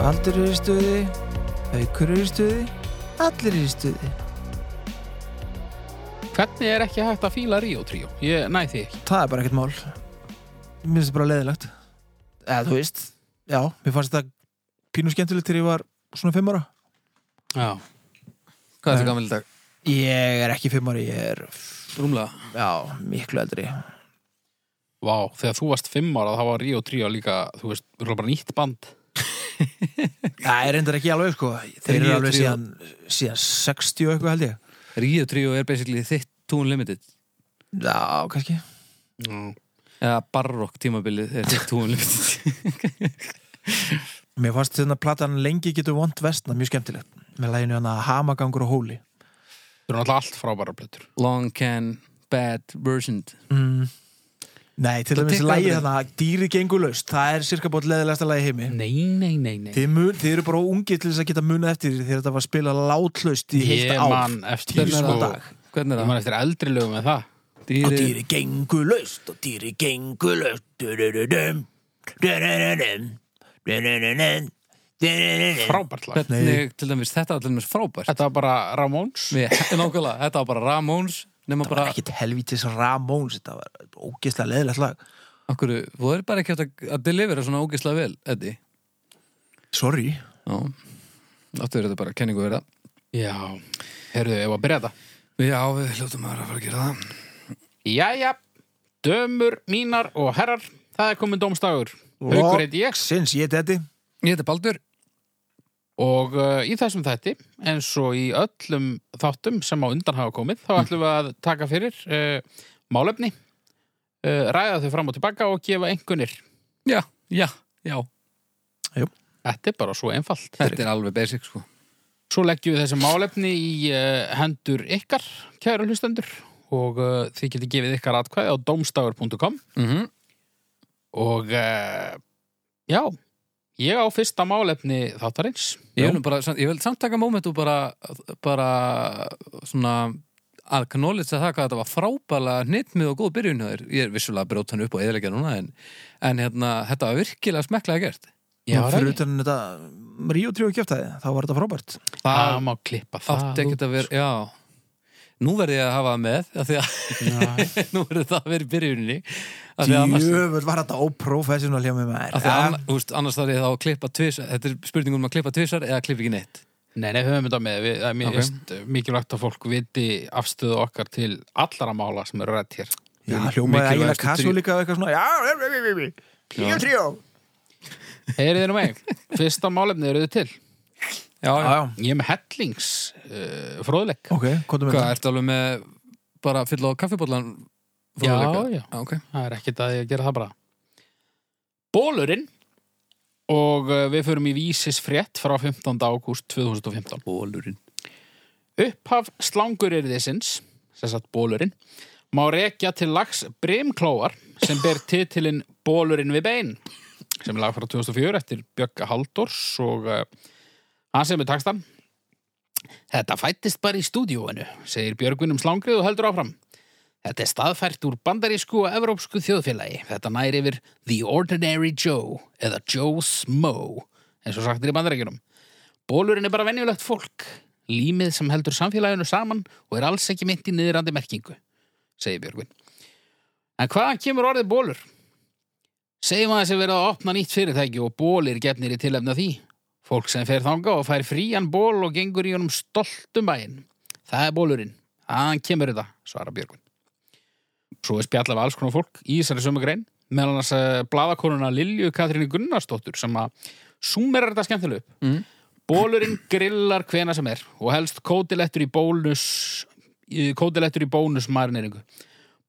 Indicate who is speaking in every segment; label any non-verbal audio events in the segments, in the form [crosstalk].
Speaker 1: Köttur er í stuði, haukur er í stuði, allir er í stuði.
Speaker 2: Hvernig er ekki hægt að fíla Ríó tríó? Ég næ því ekki.
Speaker 1: Það er bara ekkert mál. Mér finnst þetta bara leiðilegt. Eða þú veist, já, mér fannst þetta pínu skemmtilegt til ég var svona fimm ára.
Speaker 2: Já. Hvað er
Speaker 1: Nei.
Speaker 2: þetta gammal dag?
Speaker 1: Ég er ekki fimm ára, ég er,
Speaker 2: Rúmlega.
Speaker 1: já, miklu eldri.
Speaker 2: Vá, þegar þú varst fimm ára þá var Ríó tríó líka, þú veist, við erum bara nýtt band.
Speaker 1: Það er reyndar ekki alveg, sko. Þeir eru
Speaker 3: Þrír,
Speaker 1: alveg
Speaker 3: þrír.
Speaker 1: síðan, síðan 60 og eitthvað held ég.
Speaker 3: Ríðu tríó er basically þitt Tún Limited
Speaker 1: Já, kannski.
Speaker 2: Mm.
Speaker 3: eða barrock tímabilið er þitt Tún Limited
Speaker 1: Mér fannst þetta platan lengi getur vond vestna mjög skemmtilegt með læginu hann að hamagangur og hóli
Speaker 2: Þú erum alltaf allt frábæra plötur.
Speaker 3: Long Can Bad Version
Speaker 1: mm. Nei, til
Speaker 3: Það
Speaker 1: dæmis
Speaker 3: tekur
Speaker 1: lægi
Speaker 3: aldrei.
Speaker 1: þannig að dýri gengur laust það er cirka bótt leðilegasta lægi í heimi
Speaker 2: Nei, nei, nei, nei.
Speaker 1: þið, mun, þið eru bara ungið til þess að geta munið eftir því þegar þetta var spilað látlaust í heilt
Speaker 2: Ég
Speaker 1: ár
Speaker 2: man eftir,
Speaker 1: Tíu
Speaker 2: sko,
Speaker 1: svona dag
Speaker 3: Hvernig
Speaker 2: ég
Speaker 3: er
Speaker 2: man
Speaker 3: það?
Speaker 2: eftir eldri lögum en það.
Speaker 1: og dýri gengur laust og dýri gengur laust Du-du-du-dum, du-du-du-dum, du-du-du-dum, du-du-du-dum.
Speaker 2: Frábært lag.
Speaker 3: Hvernig, til dæmis, þetta var til dæmis frábært
Speaker 2: Þetta var bara Ramóns.
Speaker 3: Við, nákvæmlega, þetta var bara Ramones nema
Speaker 1: það var
Speaker 3: bara,
Speaker 1: ekkit helvítis Ramóns þetta var ógeðslega leðilegt lag
Speaker 3: okkur, þú er bara ekki hægt að, að delivera svona ógeðslega vel, Eddi
Speaker 1: sorry
Speaker 3: Já, áttu verið þetta bara kenningu verða
Speaker 2: Já. Herðu, ég var að byrja þetta.
Speaker 3: Já, við hljóttum að vera að fara að gera það
Speaker 2: Jæja, dömur mínar og herrar, það er komin dómstagur. Haukur heiti ég
Speaker 1: sinns ég þetta
Speaker 3: Ég heiti Baldur
Speaker 2: og uh, í þessum þætti, eins og í öllum þáttum sem á undan hafa komið, þá ætlum við að taka fyrir uh, málefni, uh, ræða þau fram og tilbaka og gefa engunir.
Speaker 3: Já, já, já
Speaker 2: Þetta er bara svo einfalt.
Speaker 3: Þetta er alveg basic, sko
Speaker 2: Svo leggjum við þessi málefni í uh, hendur ykkar, kæru hlustendur, og uh, þið getið gefið ykkar atkvæði á domstafur.com
Speaker 3: mm
Speaker 2: og uh, já, ég á fyrsta málefni þáttarins.
Speaker 3: Ég vil nú bara, samt- ég vil samt taka moment og bara, bara svona að knóliðsa það hvað þetta var frábæla hnittmið og góð byrjun hjá þér. Ég er vissulega að brjóta hann upp og eðilegja núna en, en hérna, þetta var virkilega smekklega gert.
Speaker 2: Já,
Speaker 1: og
Speaker 2: Raggi.
Speaker 1: fyrir utan þetta Ríó 3 kjöftaði, þá var þetta frábært
Speaker 2: Það
Speaker 3: Það
Speaker 2: má klippa það
Speaker 3: átti ekkert að vera, já. Nú verði ég að hafa það með, af því að
Speaker 2: vera
Speaker 3: [laughs] nú verði það að vera í byrjuninni. af því að annars-
Speaker 1: Djöfull var þetta óprofessional hjá mig maður
Speaker 3: af því að anna- Þú veist, annars þarf ég þá að klippa tvisar, þetta er spurningum um að klippa tvisar eða klippa ekki neitt.
Speaker 2: Nei, nei, höfum þetta með við, Það er
Speaker 3: Ok.
Speaker 2: mjög okay. mikilvægt að fólk viti afstöðu okkar til allara mála sem eru rætt hér
Speaker 1: Já, hljómaði ægilega
Speaker 3: Mikilvægastu
Speaker 1: kassu
Speaker 3: tríó.
Speaker 1: líka og eitthvað svona Já, Ríó 3 Já,
Speaker 2: Heyrið nú meg, fyrsta málefni eru þið til
Speaker 3: Já, já.
Speaker 1: já,
Speaker 2: Ég er með hellings uh, fróðleik
Speaker 1: ok, komdu með
Speaker 3: Hvað,
Speaker 1: þetta
Speaker 3: ertu alveg með bara að fylla á kaffibólan?
Speaker 2: Já, já.
Speaker 3: ok.
Speaker 2: Það er ekkit að ég gera það bara Bólurinn og uh, við förum í vísis frétt frá 15. ágúst 2015
Speaker 3: Bólurinn.
Speaker 2: Upphaf slangurirðisins, sem sagt bólurinn, má rekja til lags Brimklóar sem ber titilinn Bólurinn við bein, sem er lag frá 2004 eftir Bjögga Halldórs og uh, hann sem er takstan. Þetta fættist bara í stúdíóinu, segir Björgvin um slangrið og heldur áfram. Þetta er staðfært úr bandarísku og evrópsku þjóðfélagi. Þetta nær yfir The Ordinary Joe eða Joe Smo, eins og sagt er í bandaríkjunum. Bólurinn er bara venjulegt fólk, límið sem heldur samfélaginu saman og er alls ekki mynd í niðrandi merkingu, segir Björgvin. En hvaðan kemur orðið bólur? Segjum að þessi verið að opna nýtt fyrirtæki og bólir gefnir í tilefna því. Fólk sem fer þanga og fær frían ból og gengur í honum stoltum bæinn. Það er bólurinn. Hann kemur þetta, svarar Björgvin. Svo er spjallað við alls konar fólk í þessari sömu grein, meðal annars eh, blaðakonuna Lilju Katrínu Gunnarsdóttur sem að súmerar þetta skemmtilega upp.
Speaker 3: Mm.
Speaker 2: Bólurinn grillar hvena sem er og helst kótilettur í bónus í- kótilettur í bónus marineringu.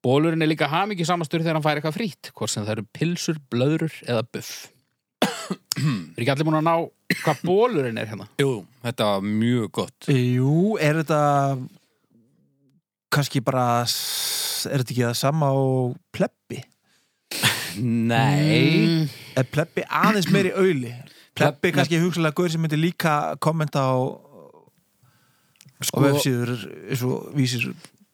Speaker 2: Bólurinn er líka hamingi samastur þegar hann fær eitthvað frýtt, hvort sem það eru pilsur, blöðrur eða
Speaker 3: [clears throat]
Speaker 2: buff. er ekki allir múin að ná hvað bólurinn er hérna?
Speaker 3: Jú, þetta var mjög gott.
Speaker 1: Jú, er þetta kannski bara s- er þetta ekki það sama á plebbi?
Speaker 3: Nei.
Speaker 2: Mm,
Speaker 1: Er plebbi aðeins meiri auðli? Plebbi
Speaker 3: Pleb-
Speaker 1: kannski hugsalega gaur sem myndi líka kommenta á
Speaker 3: Mm,
Speaker 1: á
Speaker 3: Sko-
Speaker 1: vefsíður eins og vísir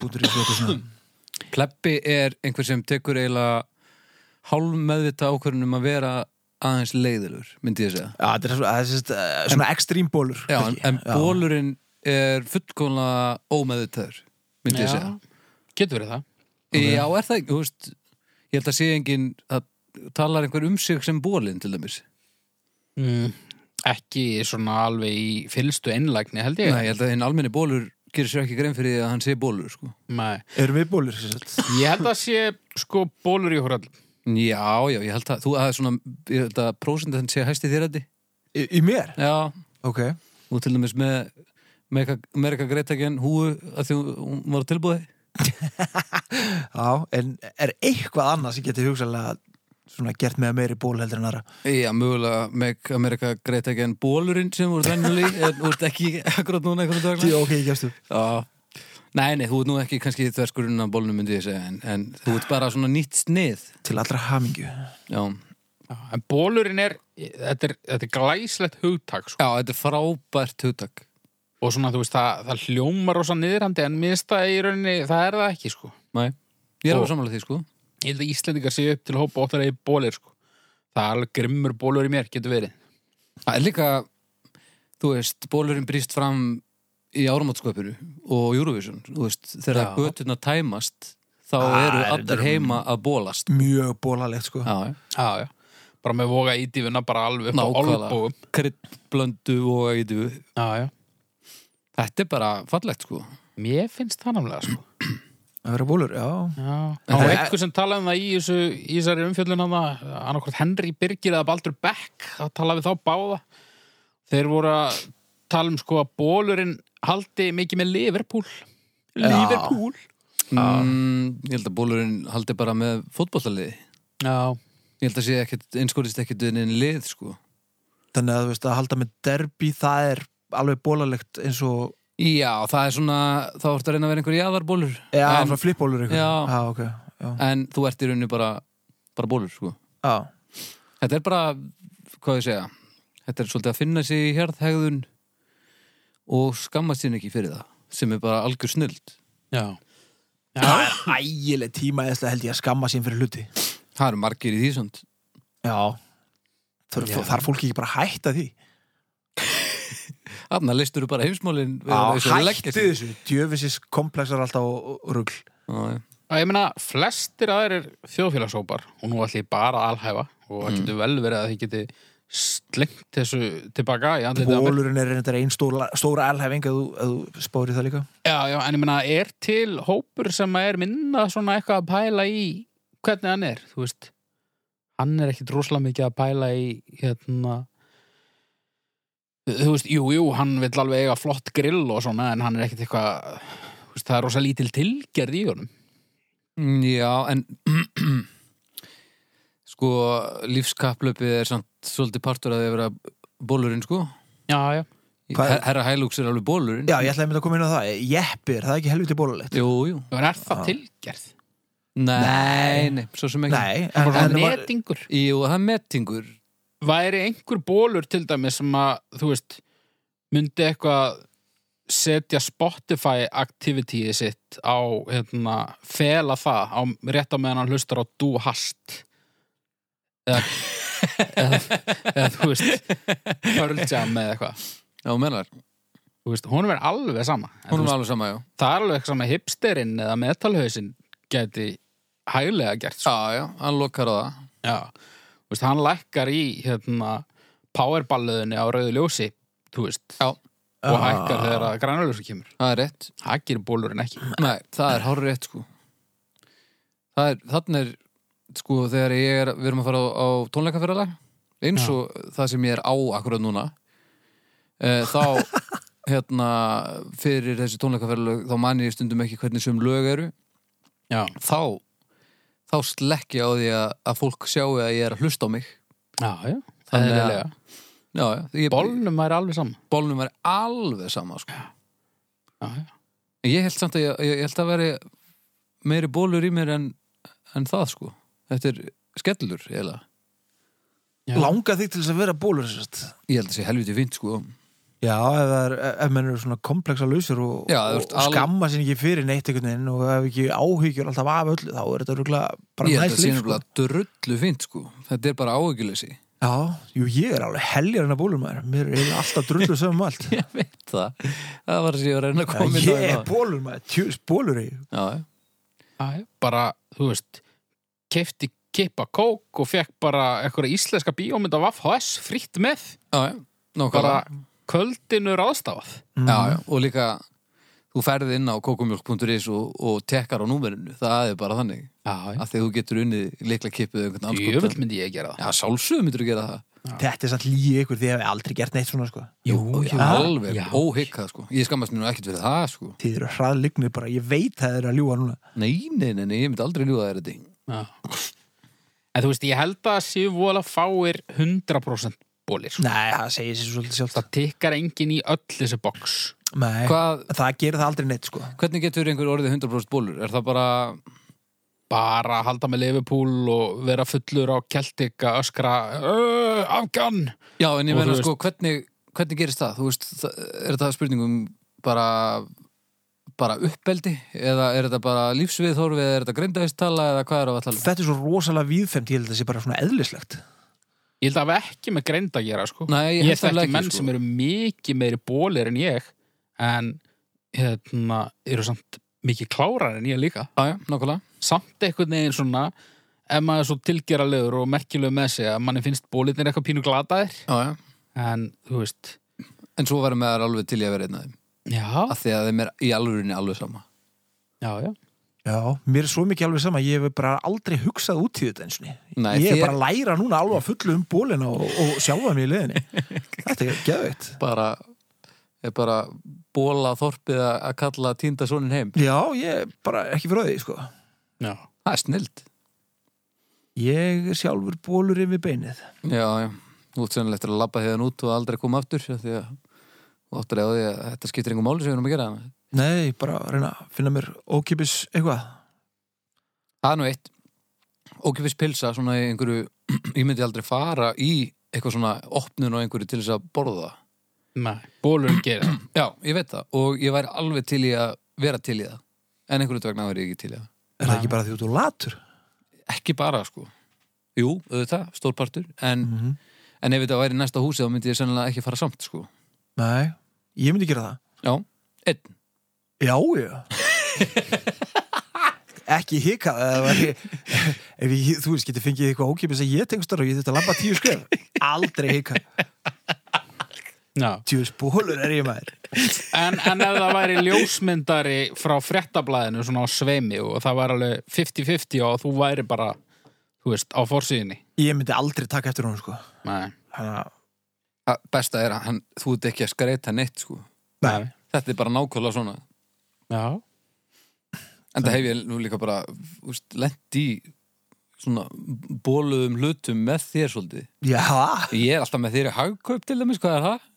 Speaker 1: bútur í eitthvað svona
Speaker 3: [laughs] Pleppi er einhver sem tekur eiginlega hálf meðvita ákvörðunum um að vera aðeins leiðilur, myndi ég segja
Speaker 1: þetta er svo- það er sem sagt, eh, svona ekstrím bólur
Speaker 3: Já, en,
Speaker 1: kannski.
Speaker 3: en
Speaker 1: Já.
Speaker 3: bólurinn er fullkomlega ómeðutæður, myndi ég
Speaker 2: Já.
Speaker 3: segja.
Speaker 2: Getur verið það.
Speaker 3: Já, er það ekki, þú veist, ég held að sé engin, það talar einhver um sig sem bólinn til dæmis.
Speaker 2: Mm. Ekki svona alveg í fylstu einlægni held ég.
Speaker 3: Nei, ég held að hinn almenni bólur gerir sér ekki grein fyrir því að hann sé bólur, sko.
Speaker 2: Nei.
Speaker 1: Erum við bólur? sem sagt?
Speaker 2: Ég held að sé sko bólur í hórall.
Speaker 3: Já, já, ég held að, þú, það er svona, ég held að prósendan sé hæsti þér hætti.
Speaker 1: Í, í mér?
Speaker 3: Já,
Speaker 1: Ok
Speaker 3: og til dæmis með Merka Gretagen húu að því hún var tilbúið.
Speaker 1: Já, en er eitthvað annað sem getur hugsalega svona gert með meiri ból heldur en aðra
Speaker 3: Já, mögulega með Merka Gretagen bólurinn sem voru [laughs] þennulí, en þú veist ekki akkurat núna einhvern dag.
Speaker 1: Jú, ok, ég gefst upp
Speaker 3: Já. Nei, nei, þú ert nú ekki kannski þverskurinn af bólnum myndi ég segja, en, en þú ert bara svona nýtt snið.
Speaker 1: Til allra hamingju
Speaker 3: Já,
Speaker 2: En bólurinn er, þetta er, þetta er glæslegt hugtak sko.
Speaker 3: Já þetta er frábært hugtak.
Speaker 2: Og svona þú veist það, það hljómar rosa niðrandi en minnst það í rauninni, það er það ekki sko.
Speaker 3: Nei, ég er
Speaker 2: Og-
Speaker 3: alveg samanlega því, sko.
Speaker 2: Ég held að Íslendingar séu upp til hópa óttar eigi bólir sko. Það er alveg grimmur bólur í mér, getur verið.
Speaker 3: Það er líka, þú veist, bólurinn brýst fram í áramátskvöpuru og Eurovision, þú veist, þegar
Speaker 2: Já.
Speaker 3: götuna tæmast, þá
Speaker 1: Ah,
Speaker 3: eru
Speaker 1: er þetta-
Speaker 3: allir heima að bólast.
Speaker 1: Mjög bólalegt, sko
Speaker 3: Já, já.
Speaker 2: Já, já. Bara með voga í divuna bara alveg upp á
Speaker 3: Nákvæmlega.
Speaker 2: olbúum.
Speaker 3: Kryddblöndu og eitthvað.
Speaker 2: Já, já.
Speaker 3: Þetta er bara fallegt, sko.
Speaker 2: Mér finnst það námlega sko.
Speaker 1: Að vera bólur, já
Speaker 2: Já,
Speaker 3: En
Speaker 2: á
Speaker 3: það-
Speaker 2: einhver sem talaði um það í þessu í þessari umfjöllun hann annarkvort Henry Birgir eða Baldur Beck þá talaði við þá báða þeir voru að tala um sko að bólurinn haldi mikið með Liverpool Liverpool
Speaker 3: Mm, ég held að bólurinn haldi bara með fótbollaliði.
Speaker 2: Já,
Speaker 3: Ég held að sé ekkit, einskorist ekkit unnið lið, sko.
Speaker 1: Þannig að þú veist að halda með derbi það er alveg bólalegt eins og
Speaker 3: Já, það er svona, þá ertu að reyna að vera einhver jáðarbólur
Speaker 1: Já,
Speaker 3: En-
Speaker 1: svona flipbólur ykkur
Speaker 3: Já.
Speaker 1: já ok Já,
Speaker 3: En þú ert í rauninu bara, bara bólur, sko
Speaker 1: já.
Speaker 3: Þetta er bara, hvað ég segja Þetta er svolítið að finna sig í hérðhegðun og skammast sín ekki fyrir það sem er bara algjör snild
Speaker 2: já
Speaker 1: Það er ægileg tíma eða held ég að skamma sín fyrir hluti
Speaker 3: Það eru margir í því samt
Speaker 1: Já Þar,
Speaker 3: Já.
Speaker 1: þar fólk ekki bara að hætta því
Speaker 3: Þarna leistur þú bara heimsmálin við að
Speaker 1: Já,
Speaker 3: þessu að leggja
Speaker 1: hætti
Speaker 3: sig.
Speaker 1: þessu Djöfisins komplexar alltaf og- og rugl
Speaker 3: Já, já.
Speaker 2: Og ég meina, flestir aðeirir þjóðfélagsópar og nú ætli ég bara að alhæfa og það getur vel verið að þið geti slengt þessu tilbaka í andlitið á mér.
Speaker 1: Bólurinn er reyndar einn stóra, stóra alhæfing að þú, að þú spáir í það líka
Speaker 2: Já, já, en ég meina, er til hópur sem er minna svona eitthvað að pæla í hvernig hann er, þú veist hann er ekkit rosalega mikið að pæla í hérna þú veist, jú, jú, hann vill alveg eiga flott grill og svona, en hann er ekkit eitthvað þú veist, það er rosalega lítil tilgerð í honum
Speaker 3: Mm, Já, en [clears throat] sko, lífskaplöpið er samt svolítið partur að því að vera bólurinn, sko
Speaker 2: Já, já,
Speaker 1: Hvað-
Speaker 3: Herra Hælúks er alveg bólurinn
Speaker 1: Já, ég ætlaði að mynda að koma inn á það Jeppi, er það ekki helviti bólalegt?
Speaker 3: Jú, jú
Speaker 2: en er það tilgerð?
Speaker 3: Nei, nei, svo sem ekki
Speaker 1: Nei,
Speaker 2: En,
Speaker 1: en, en, var,
Speaker 2: netingur
Speaker 3: Jú, það er mettingur
Speaker 2: væri einhver bólur til dæmis sem að, þú veist, myndi eitthvað setja Spotify aktivitíið sitt á, hérna, fela það á rétt á meðan hann hlustar á Du Hast eða, eða, eða þú veist Pearl Jam eða eitthvað
Speaker 3: Já, þú menar,
Speaker 2: þú veist, honum er alveg sama en, þú
Speaker 3: hún er
Speaker 2: veist,
Speaker 3: alveg sama, já
Speaker 2: það er alveg eitthvað sem að hipsterinn eða metalhausin geti hæglega gert sko.
Speaker 3: Já, já, hann lokar á það
Speaker 2: Já, þú veist, hann lækkar í hérna powerballuðinni á rauðu ljósi, þú veist
Speaker 3: Já.
Speaker 2: og
Speaker 1: Ah.
Speaker 2: hækkar þegar að grænuljósi kemur
Speaker 3: Það er rétt
Speaker 2: það gerir bólurinn ekki
Speaker 3: Nei, það er hár rétt, sko Það er, þannig er, sko, þegar ég er Við erum að fara á, á tónleikaferðalag Eins
Speaker 2: Já.
Speaker 3: og það sem ég er á akkurat núna e, Þá, hérna, fyrir þessi tónleikaferðalag Þá man ég stundum ekki hvernig sem lög eru
Speaker 2: Já,
Speaker 3: Þá, þá slekk ég á því að, að fólk sjáu að ég er að hlusta á mig
Speaker 2: já, já
Speaker 3: Þannig
Speaker 2: Þannig
Speaker 3: að-
Speaker 2: að
Speaker 3: Já, já, ég,
Speaker 2: bólnum er alveg saman
Speaker 3: bólnum var alveg sama sko.
Speaker 2: Já, já,
Speaker 3: ég held samt að ég, ég held að veri meiri bólur í mér en, en það sko þetta er skellur eiginlega.
Speaker 2: já.
Speaker 1: langa þig til þess að vera bólur sérst.
Speaker 3: ég held að sé helviti fínt sko
Speaker 1: Já, ef, það er, ef menn eru svona komplexa lausur og,
Speaker 3: Já, þú
Speaker 1: og,
Speaker 3: ert
Speaker 1: og
Speaker 3: al-
Speaker 1: skamma sér ekki fyrir neitt einhvern veginn og ef ekki áhyggjur alltaf af öllu þá er þetta rúglega bara
Speaker 3: ég held
Speaker 1: næst
Speaker 3: að sé
Speaker 1: líf sko.
Speaker 3: nefnilega drullu fínt sko þetta er bara áhyggjuleysi
Speaker 1: Já, jú, ég er alveg heljar en að bólur maður Mér er eiginlega alltaf drullu sem um allt
Speaker 3: [laughs] [laughs] Ég veit það. Það var þess að ég var að reyna að
Speaker 1: Já, Ég er
Speaker 3: koma inn á það. hérna.
Speaker 1: bólur maður, tjús, bólur í
Speaker 3: Já, já.
Speaker 2: Æ, bara, þú veist kefti kippa kók og fekk bara eitthvað íslenska bíómynd af VHS fritt með,
Speaker 3: Já, já. Nákvæmlega.
Speaker 2: bara kvöldinu ráðstafað
Speaker 3: Já, já. Og líka, þú ferði inn á kokumjólk.is og, og tekkar á númerinu. Það er bara þannig.
Speaker 2: Já,
Speaker 3: Að því þú getur unnið leikla kipið einhvern
Speaker 2: jöfull
Speaker 3: anskotan.
Speaker 2: myndi ég gera það
Speaker 3: Já, sálsögum myndur að gera það.
Speaker 1: Mm. Þetta er samt líi ykkur því að við aldrei gert neitt svona sko
Speaker 3: Jú,
Speaker 1: já.
Speaker 3: alveg,
Speaker 2: Já.
Speaker 3: óhyggað sko Ég skammast mér nú ekkert fyrir það sko
Speaker 1: Þið eru hraðlignir bara, ég veit það er að ljúga núna
Speaker 3: Nei, nei, nei, nei ég myndi aldrei ljúða þér þetta
Speaker 2: Já. En þú veist, ég held að séu vola fáir 100% bólir. sko.
Speaker 1: Nei, það segir sér svolítið sjálft
Speaker 2: Það tikkar enginn í öll þessi box.
Speaker 1: Nei,
Speaker 3: Hvað,
Speaker 1: það gerir það aldrei neitt sko
Speaker 3: hvernig getur einhver orðið 100% bólur? Er það bara,
Speaker 2: Bara að halda með Liverpool og vera fullur á Celtic að öskra "Ö, Afgan!
Speaker 3: já, en ég
Speaker 2: Og
Speaker 3: meina
Speaker 2: þú
Speaker 3: sko hvernig, hvernig gerist það? Þú veist, það, er það spurningum bara bara uppbeldi eða er þetta bara lífsviðhorfi eða er þetta greindaðistala eða hvað er á að tala? um?
Speaker 1: Þetta er svo rosalega víðfemt, ég held að það sé bara svona eðlislegt
Speaker 2: Ég held að það hafi ekki með greind að gera, sko.
Speaker 3: Nei,
Speaker 2: ég
Speaker 3: held
Speaker 2: held
Speaker 3: nefnilega
Speaker 2: ekki menn
Speaker 3: sko.
Speaker 2: sem eru mikið meiri bólir en ég, en hérna, eru samt mikið klárar en ég líka.
Speaker 3: Já, já, nákvæmlega
Speaker 2: Samt einhvern veginn svona, ef maður er svo tilgeralegur og merkilegur með sig að manni finnst bólirnir eitthvað pínu glataðir,
Speaker 3: já, já.
Speaker 2: en þú veist,
Speaker 3: En svo verðum við alveg til ég að vera einn af þeim
Speaker 2: já,
Speaker 3: að því að þeim er í alvörinni alveg sama
Speaker 2: Já, já.
Speaker 1: Já, mér er svo mikið alveg sama, ég hef bara aldrei hugsað út í þetta eins og
Speaker 3: Nei,
Speaker 1: Ég er
Speaker 3: þér-
Speaker 1: bara að læra núna alveg að fullu um bólina og, og sjálfa mig í liðinni [laughs] Þetta er geðveikt
Speaker 3: bara er bara bóla þorpið að að kalla týnda sonin heim
Speaker 1: Já, ég er bara ekki fyrir því sko
Speaker 2: já.
Speaker 3: það er snild
Speaker 1: Ég er sjálfur bólur yfir beinið
Speaker 3: já, já, út sennilegt að labba hefðan út og aldrei koma aftur af því að þú áttur að því að þetta skiptir engum máli sem við erum að gera
Speaker 1: Nei, bara að reyna að finna mér ókipis eitthvað
Speaker 3: það er nú eitt ókipis pilsa svona í einhverju [clears throat] ég myndi aldrei fara í eitthvað svona opnun og einhverju til þess að borða það.
Speaker 2: Nei, bólurinn gerir [clears throat] það.
Speaker 3: já, ég veit það og ég væri alveg til í að vera til í það en einhverju vegna væri ég ekki til í það
Speaker 1: Er það ekki bara því út úr latur?
Speaker 3: ekki bara sko jú, auðvitað, stórpartur en
Speaker 1: Mm
Speaker 3: En ef þetta væri næsta húsi þá myndi ég sennilega ekki fara samt sko
Speaker 1: Nei, ég myndi gera það
Speaker 3: Já, einn
Speaker 1: Já, já [laughs] Ekki hika það var, ef ég, þú veist, getur fengið eitthvað ókipis að ég tengst þar og ég þetta labba tíu skref Aldrei hika
Speaker 2: Já.
Speaker 1: Tíu spólur er ég maður
Speaker 2: En, en ef það væri ljósmyndari frá frettablaðinu svona á sveimi og það væri alveg 50-50 og þú væri bara, þú veist, á forsýðinni.
Speaker 1: Ég myndi aldrei taka eftir hún, sko
Speaker 2: Nei.
Speaker 1: Hanna,
Speaker 3: A, Besta er að hann, þú ert ekki að skreita neitt sko
Speaker 1: Nei.
Speaker 3: Þetta er bara nákvæmlega svona
Speaker 2: Já.
Speaker 3: En það hef ég nú líka bara úst, lent í svona bóluðum hlutum með þér svolítið
Speaker 1: Já,
Speaker 3: Ég er alltaf með þér í hagkaup til dæmis, hvað er það?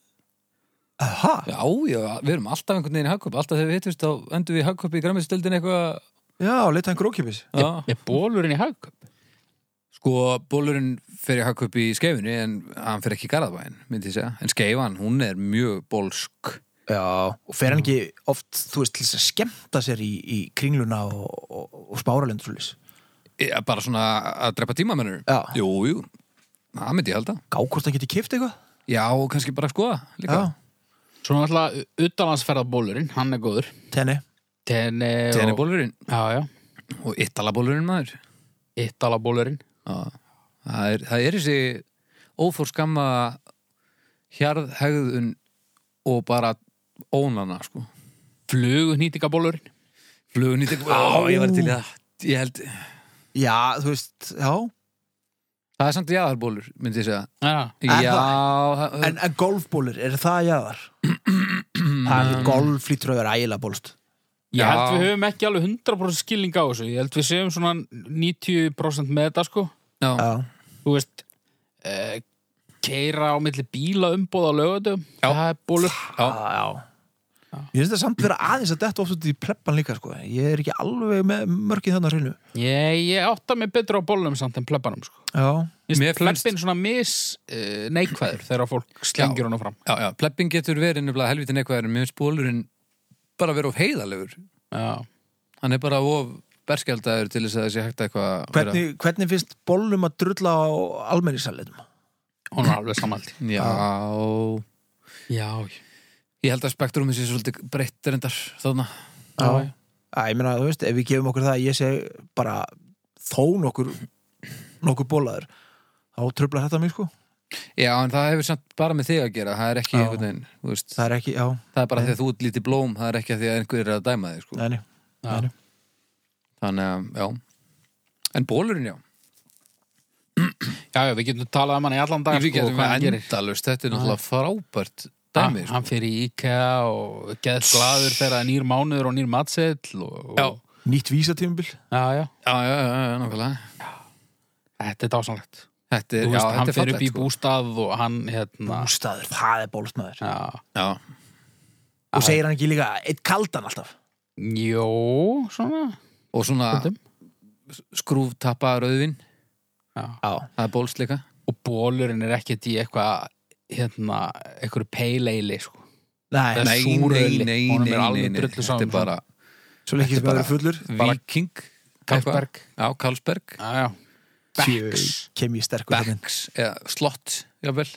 Speaker 1: aha
Speaker 3: Já, já, við erum alltaf einhvern veginn í hagkaup Alltaf þegar við hittumst þá endur við í hagkaup í græmistöldin eitthvað
Speaker 1: Já, leita einhver ókipis
Speaker 3: Já,
Speaker 2: Er bólurinn í hagköp?
Speaker 3: sko bólurinn fer í hagkaup í skeifunni en hann fer ekki í garðabæin, myndi ég segja En skeifan, hún er mjög bólsk
Speaker 1: Já Og fer hann ekki oft, þú veist, til þess að skemmta sér í, í kringluna og, og, og spáralend svolítið
Speaker 3: Já, Eh, bara svona að drepa tíma mennur
Speaker 1: Já.
Speaker 3: Jú, jú, það myndi ég held að
Speaker 1: Gá hvort það geti kift eitthvað
Speaker 3: Já, og kannski bara skoða líka
Speaker 1: Já,
Speaker 2: Svona alltaf utanlandsferðabólurinn, hann er góður.
Speaker 1: tenni
Speaker 2: Tenni og...
Speaker 3: Tenibólurinn
Speaker 2: Já, já.
Speaker 3: og Italabólurinn maður
Speaker 2: Ítalabólurinn.
Speaker 3: Já, það er, það er þessi ófórskamma hjarðhegðun og bara ónana, sko
Speaker 2: Flugunýtingabólurinn.
Speaker 3: Flugun í tegum, já, ég var til í það Ég held,
Speaker 1: Já, þú veist, já
Speaker 3: það er samt jaðarbólur, myndi ég segja
Speaker 2: Já.
Speaker 1: Er
Speaker 3: Já,
Speaker 1: En, en golfbólur, er það jáðar? það er golf lítur að vera ægilega bólst
Speaker 2: Ég
Speaker 3: Já.
Speaker 2: held við höfum ekki alveg 100% skilning á þessu. Ég held við séum svona 90% með þetta, sko.
Speaker 3: já, já,
Speaker 1: Já,
Speaker 2: þú veist uh, keira á milli bíla umbóð á lögutum
Speaker 3: Já.
Speaker 2: það er bólur
Speaker 1: já, Ah, já. Ég finnst það samt vera aðeins að detta oft út í pleppan líka sko. Ég er ekki alveg með mörkið þannig að hreinu
Speaker 2: ég, ég átta mig betur á bólunum samt en plebbanum sko.
Speaker 1: Já,
Speaker 2: Mér
Speaker 3: Mér finnst-
Speaker 2: plebbin svona mis uh, neikvæður þegar fólk slengir honum fram
Speaker 3: já Plebbin getur verið nefnilega helviti neikvæður en mér finnst bólurinn bara verið of heiðalegur
Speaker 2: já.
Speaker 3: hann er bara of berskjaldæður til þess að það sé hægt að eitthvað
Speaker 1: hvernig, hvernig finnst bólum að drulla á almenningsanleitum?
Speaker 2: hún var alveg samaldi
Speaker 3: Já,
Speaker 2: já,
Speaker 3: ég held að spektrumið sé svolítið breytt reyndar þarna
Speaker 1: Já. Æ, ég meina, þú veist, ef við gefum okkur það að ég seg bara þó nokkur nokkur bólaður þá tröflar þetta mér sko
Speaker 3: Já, en það hefur samt bara með þig að gera það er ekki
Speaker 1: Já.
Speaker 3: einhvern veginn, þú veist
Speaker 1: það er ekki, já,
Speaker 3: það er bara því að þú ert lítið blóm, það er ekki að því að einhver er að dæma þig, sko
Speaker 1: neini
Speaker 2: já.
Speaker 1: Nei.
Speaker 3: þannig að, já en bólurinn, já,
Speaker 2: já, já, við getum talað um hann í allan dag
Speaker 3: við
Speaker 2: sko,
Speaker 3: getum
Speaker 2: hvað hann
Speaker 3: við
Speaker 2: gerir
Speaker 3: endalust þetta er náttúrulega frábært
Speaker 2: Hann,
Speaker 3: dæmi, sko.
Speaker 2: hann fyrir í IKEA og geðt glaður þegar það er nýr mánuður og nýr matseðl og,
Speaker 3: Já.
Speaker 2: og,
Speaker 1: nýtt vísatímabil
Speaker 2: já, já,
Speaker 3: já, já, já, já, nákvæmlega
Speaker 2: þetta er dásanlegt
Speaker 3: þetta
Speaker 2: Þú
Speaker 3: er, já,
Speaker 2: veist, hann
Speaker 3: þetta er
Speaker 2: fyrir upp
Speaker 3: fallegt, sko.
Speaker 2: í bústað og hann hérna
Speaker 1: bústaður, það er bólstmaður
Speaker 2: já,
Speaker 3: já,
Speaker 1: og segir hann ekki líka, eitt kaldan alltaf
Speaker 2: jó, svona
Speaker 3: og svona
Speaker 2: Stundum.
Speaker 3: skrúftappa rauðvin,
Speaker 2: já.
Speaker 1: já,
Speaker 3: það er bólst líka
Speaker 2: og bólurinn er ekkert í eitthvað hérna, eitthvað peileili sko.
Speaker 1: nei,
Speaker 2: Nei. súröli. Honum er alveg drullu
Speaker 3: þetta
Speaker 2: saman,
Speaker 3: er bara
Speaker 1: svo lengi sem
Speaker 3: Þetta
Speaker 1: það
Speaker 3: bara-
Speaker 1: eru fullur
Speaker 2: Bara-
Speaker 3: viking
Speaker 2: Carlsberg.
Speaker 3: eitthvað. já, Karlsberg,
Speaker 2: já, já. Becks
Speaker 1: Sjö, kem ég sterkur hérna
Speaker 3: Becks eða Slott, jável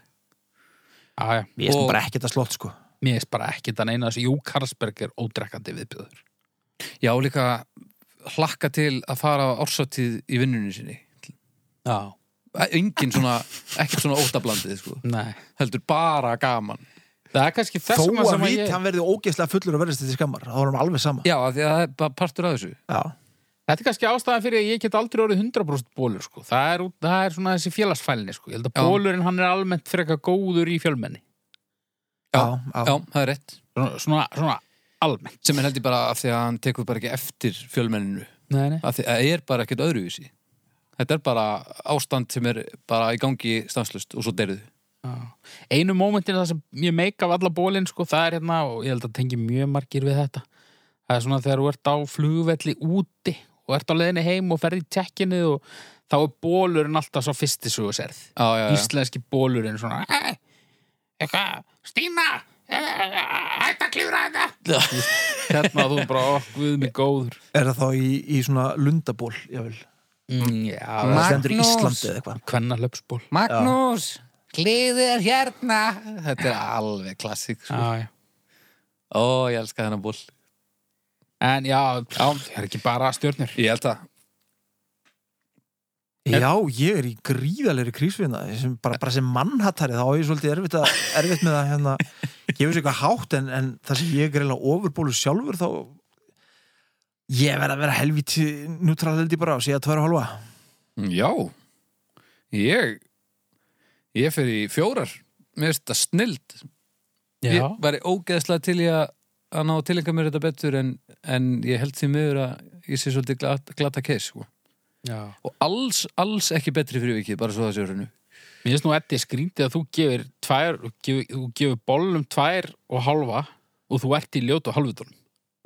Speaker 2: já, já.
Speaker 1: ég er
Speaker 3: Og-
Speaker 1: bara ekkert að slott sko
Speaker 2: mér er bara ekkert að neina þessu Jú Karlsberg er ódrekkandi viðbjöður
Speaker 3: já, líka hlakka til að fara á ársatið í vinnunni sinni
Speaker 2: já,
Speaker 3: engin svona, ekkert svona óttablandið sko.
Speaker 2: nei
Speaker 3: heldur bara gaman
Speaker 2: það er kannski
Speaker 1: þó
Speaker 2: þess vegna
Speaker 1: að
Speaker 2: sem að
Speaker 1: vít
Speaker 2: ég
Speaker 1: hann verði ógeðslega fullur og verðist þetta skammar, þá er hann alveg sama
Speaker 3: já, af því að það er bara partur af þessu
Speaker 1: já,
Speaker 2: þetta er kannski ástæðan fyrir að ég get aldrei orðið 100% bólur sko. það, er, út- það er svona þessi félagsfælni sko. ég held að
Speaker 3: Já.
Speaker 2: bólurinn hann er almennt frekar góður í fjölmenni
Speaker 1: já,
Speaker 3: Já. já, það er rétt
Speaker 2: svona, svona, svona almennt
Speaker 3: sem er heldur bara af því að hann tekur bara ekki eftir fjölmenninu,
Speaker 2: nei, nei.
Speaker 3: af því að það er bara ekkert öðruvísi þetta er bara ástand sem er bara í gangi stanslust og svo deyrðu
Speaker 2: einu mómentin það sem ég meik af alla bólinn sko, það er hérna og ég held að tengi mjög margir við þetta það er svona þegar þú ert á flugvelli úti og ert á leiðinni heim og ferði í tekkinu og þá er bólurinn alltaf svo fyrsti svo serð
Speaker 3: já, já, já.
Speaker 2: íslenski bólurinn svona "Hey, eitthvað, Stína eh, hætt að klífra þetta [laughs] hérna þú bara okkur mig góður
Speaker 1: er það þá í, í svona lundaból jável,
Speaker 2: mm, já,
Speaker 1: það stendur í
Speaker 3: Magnús.
Speaker 1: Íslandi eða eitthvað
Speaker 2: hvenna löpsból
Speaker 3: Magnús, gleðið er hérna þetta er alveg klassik sko.
Speaker 2: já, já.
Speaker 3: ó, ég elska þennan ból
Speaker 2: en já, já, það er ekki bara stjörnir
Speaker 3: ég held að
Speaker 1: Já, ég er í gríðalegri krísvinna sem bara, bara sem mannhattari þá er ég svolítið erfitt, að, erfitt með að hérna, gefa sér eitthvað hátt en, en það sem ég er eiginlega ofurbólu sjálfur þá ég verð að vera helviti neutralildi bara og segja tværa halva
Speaker 3: Já, ég ég fer í fjórar mér finnst þetta snild ég væri ógeðslega til ég að- að ná tilenga mér þetta betur en, en ég held því miður að ég sé svolítið glat, glata case sko.
Speaker 2: já.
Speaker 3: og alls, alls ekki betri fyrir vikið bara svo það séu hennu
Speaker 2: Mér finnst nú Eddi skrýndið að þú gefir tvær, þú gefur, þú gefur bollum tvær og halva og þú ert í ljótu halvutunum.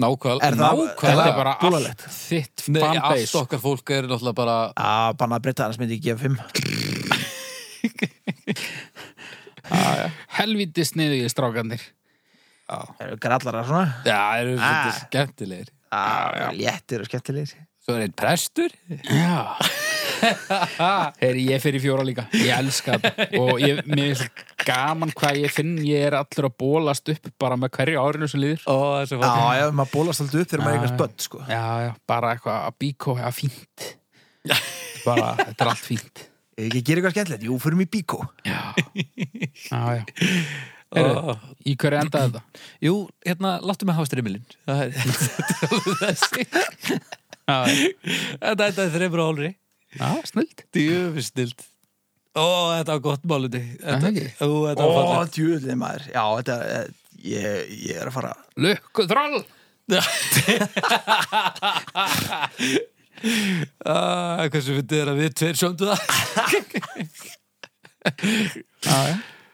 Speaker 3: Nákvæl,
Speaker 1: Er það-
Speaker 2: Þetta
Speaker 1: Hella,
Speaker 2: er
Speaker 3: nákvæmlega
Speaker 2: bara
Speaker 1: búlalegt.
Speaker 2: allt þitt
Speaker 3: Nei, allt
Speaker 2: fanbase.
Speaker 3: okkar fólk er náttúrulega bara
Speaker 1: að banna að breyta annars myndi ég gefa fimm
Speaker 2: Helviti sniðu í strákandir.
Speaker 1: Það eru grallara svona
Speaker 3: Já, það eru
Speaker 1: Ah.
Speaker 3: svolítið skemmtilegir
Speaker 1: að léttir og skemmtilegir
Speaker 3: Svo er einn prestur [laughs]
Speaker 2: Já. Heri, ég fer í fjóra líka. Ég elska þetta. Og ég, mér er svo gaman hvað ég finn. Ég er allur að bólast upp bara með hverju árinu sem líður.
Speaker 3: Ó, þessi
Speaker 1: Já,
Speaker 3: fólk
Speaker 1: já, maður bólast alltaf upp þegar maður
Speaker 2: Já,
Speaker 1: eitthvað
Speaker 2: já.
Speaker 1: spött sko.
Speaker 2: Já, já, bara eitthvað að bíkó, já, fínt. Bara, þetta er allt fínt.
Speaker 1: Ef Ég gerir eitthvað skemmtilegt, jú, förum í bíkó
Speaker 2: Já. Já, já. Heru, í hverju endaði þetta?
Speaker 3: Jú, hérna, láttu mig hafa strimilinn [laughs] Það er þetta er alveg þessi Þetta þetta er þreifur og hálfri
Speaker 2: Já, snöld
Speaker 3: Djöfustild Ó, þetta var gott máluti
Speaker 2: Er það
Speaker 3: Þetta,
Speaker 2: ekki?
Speaker 3: Ú, þetta var
Speaker 1: Ó,
Speaker 3: fallegt
Speaker 1: djúðlið maður Já, þetta, eh, ég, ég er að fara
Speaker 2: Lukku þrall
Speaker 3: ah, Hversu fyndið er að við tveir sjóndu það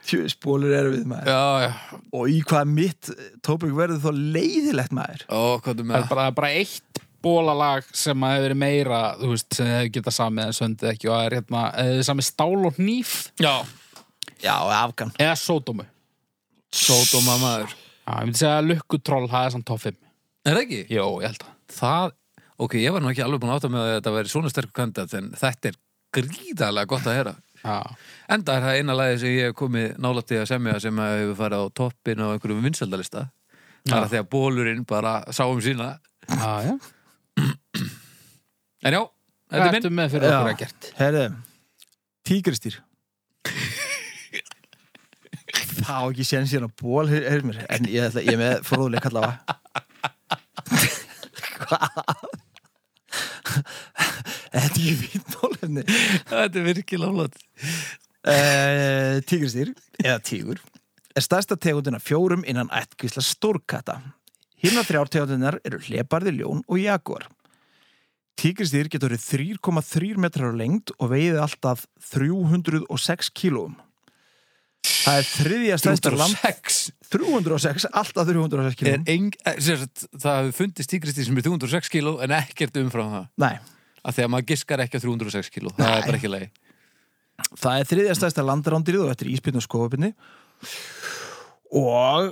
Speaker 1: Tjúðspólur eru við maður
Speaker 3: Já, já
Speaker 1: og í hvað mitt tópik verður þá leiðilegt maður
Speaker 3: Ó, hvað er
Speaker 2: Það
Speaker 3: með
Speaker 2: er
Speaker 3: það?
Speaker 2: bara, bara eitt bólalag sem að hefur verið meira þú veist, sem hefur getað samið en söndið ekki og það er hérna, hefur samið stál og hníf
Speaker 3: Já
Speaker 1: Já, afgan
Speaker 2: eða sódómu
Speaker 3: Sódóma maður
Speaker 2: Já, ég myndi segja að lukku troll, það er samt top 5
Speaker 3: Er það ekki?
Speaker 2: Jó, ég held að
Speaker 3: Það, ok, ég var nú ekki alveg búin að átta með að þetta væri svona sterkur kandidat en þetta er gríðarlega gott að heyra
Speaker 2: Já.
Speaker 3: Enda er það eina lagi sem ég hef komið nálætti að semja sem að hefur farið á toppin á einhverjum vinsaldalista Það er að því að bólurinn bara sá um sína
Speaker 2: Já, já.
Speaker 3: En já, þetta
Speaker 2: Hvað
Speaker 3: er minn
Speaker 2: ertu með fyrir okkur
Speaker 1: Já.
Speaker 2: að gert?
Speaker 1: Herðu, [laughs] tígristýr Það á ekki séns hérna ból, heyr- heyrðu mér En ég, ætla, ég er með fróðuleik allavega Hvað? Þetta er ekki fínt nálefni
Speaker 3: Þetta er virkilega flott
Speaker 1: uh, Tígristýr, eða tígur er stærsta tegundina fjórum innan ættkvísla stórkata Hina þrjár tegundinar eru hleparði ljón og jaguar Tígristýr getur verið 3,3 metrar á lengd og veiði alltaf 306 kílóum Það er þriðja stærsta land
Speaker 3: 306
Speaker 1: 306, alltaf 306
Speaker 3: er
Speaker 1: kílóum
Speaker 3: eng, eh, sem sagt, Það hefur fundist tígristi sem er 306 kíló en ekkert umfram það
Speaker 1: Nei,
Speaker 3: að því að maður giskar ekki á 306 kíló það er
Speaker 1: Nei.
Speaker 3: bara ekki leið
Speaker 1: það er þriðja stærsta landrándýrið og eftir íspinn og skofabinni og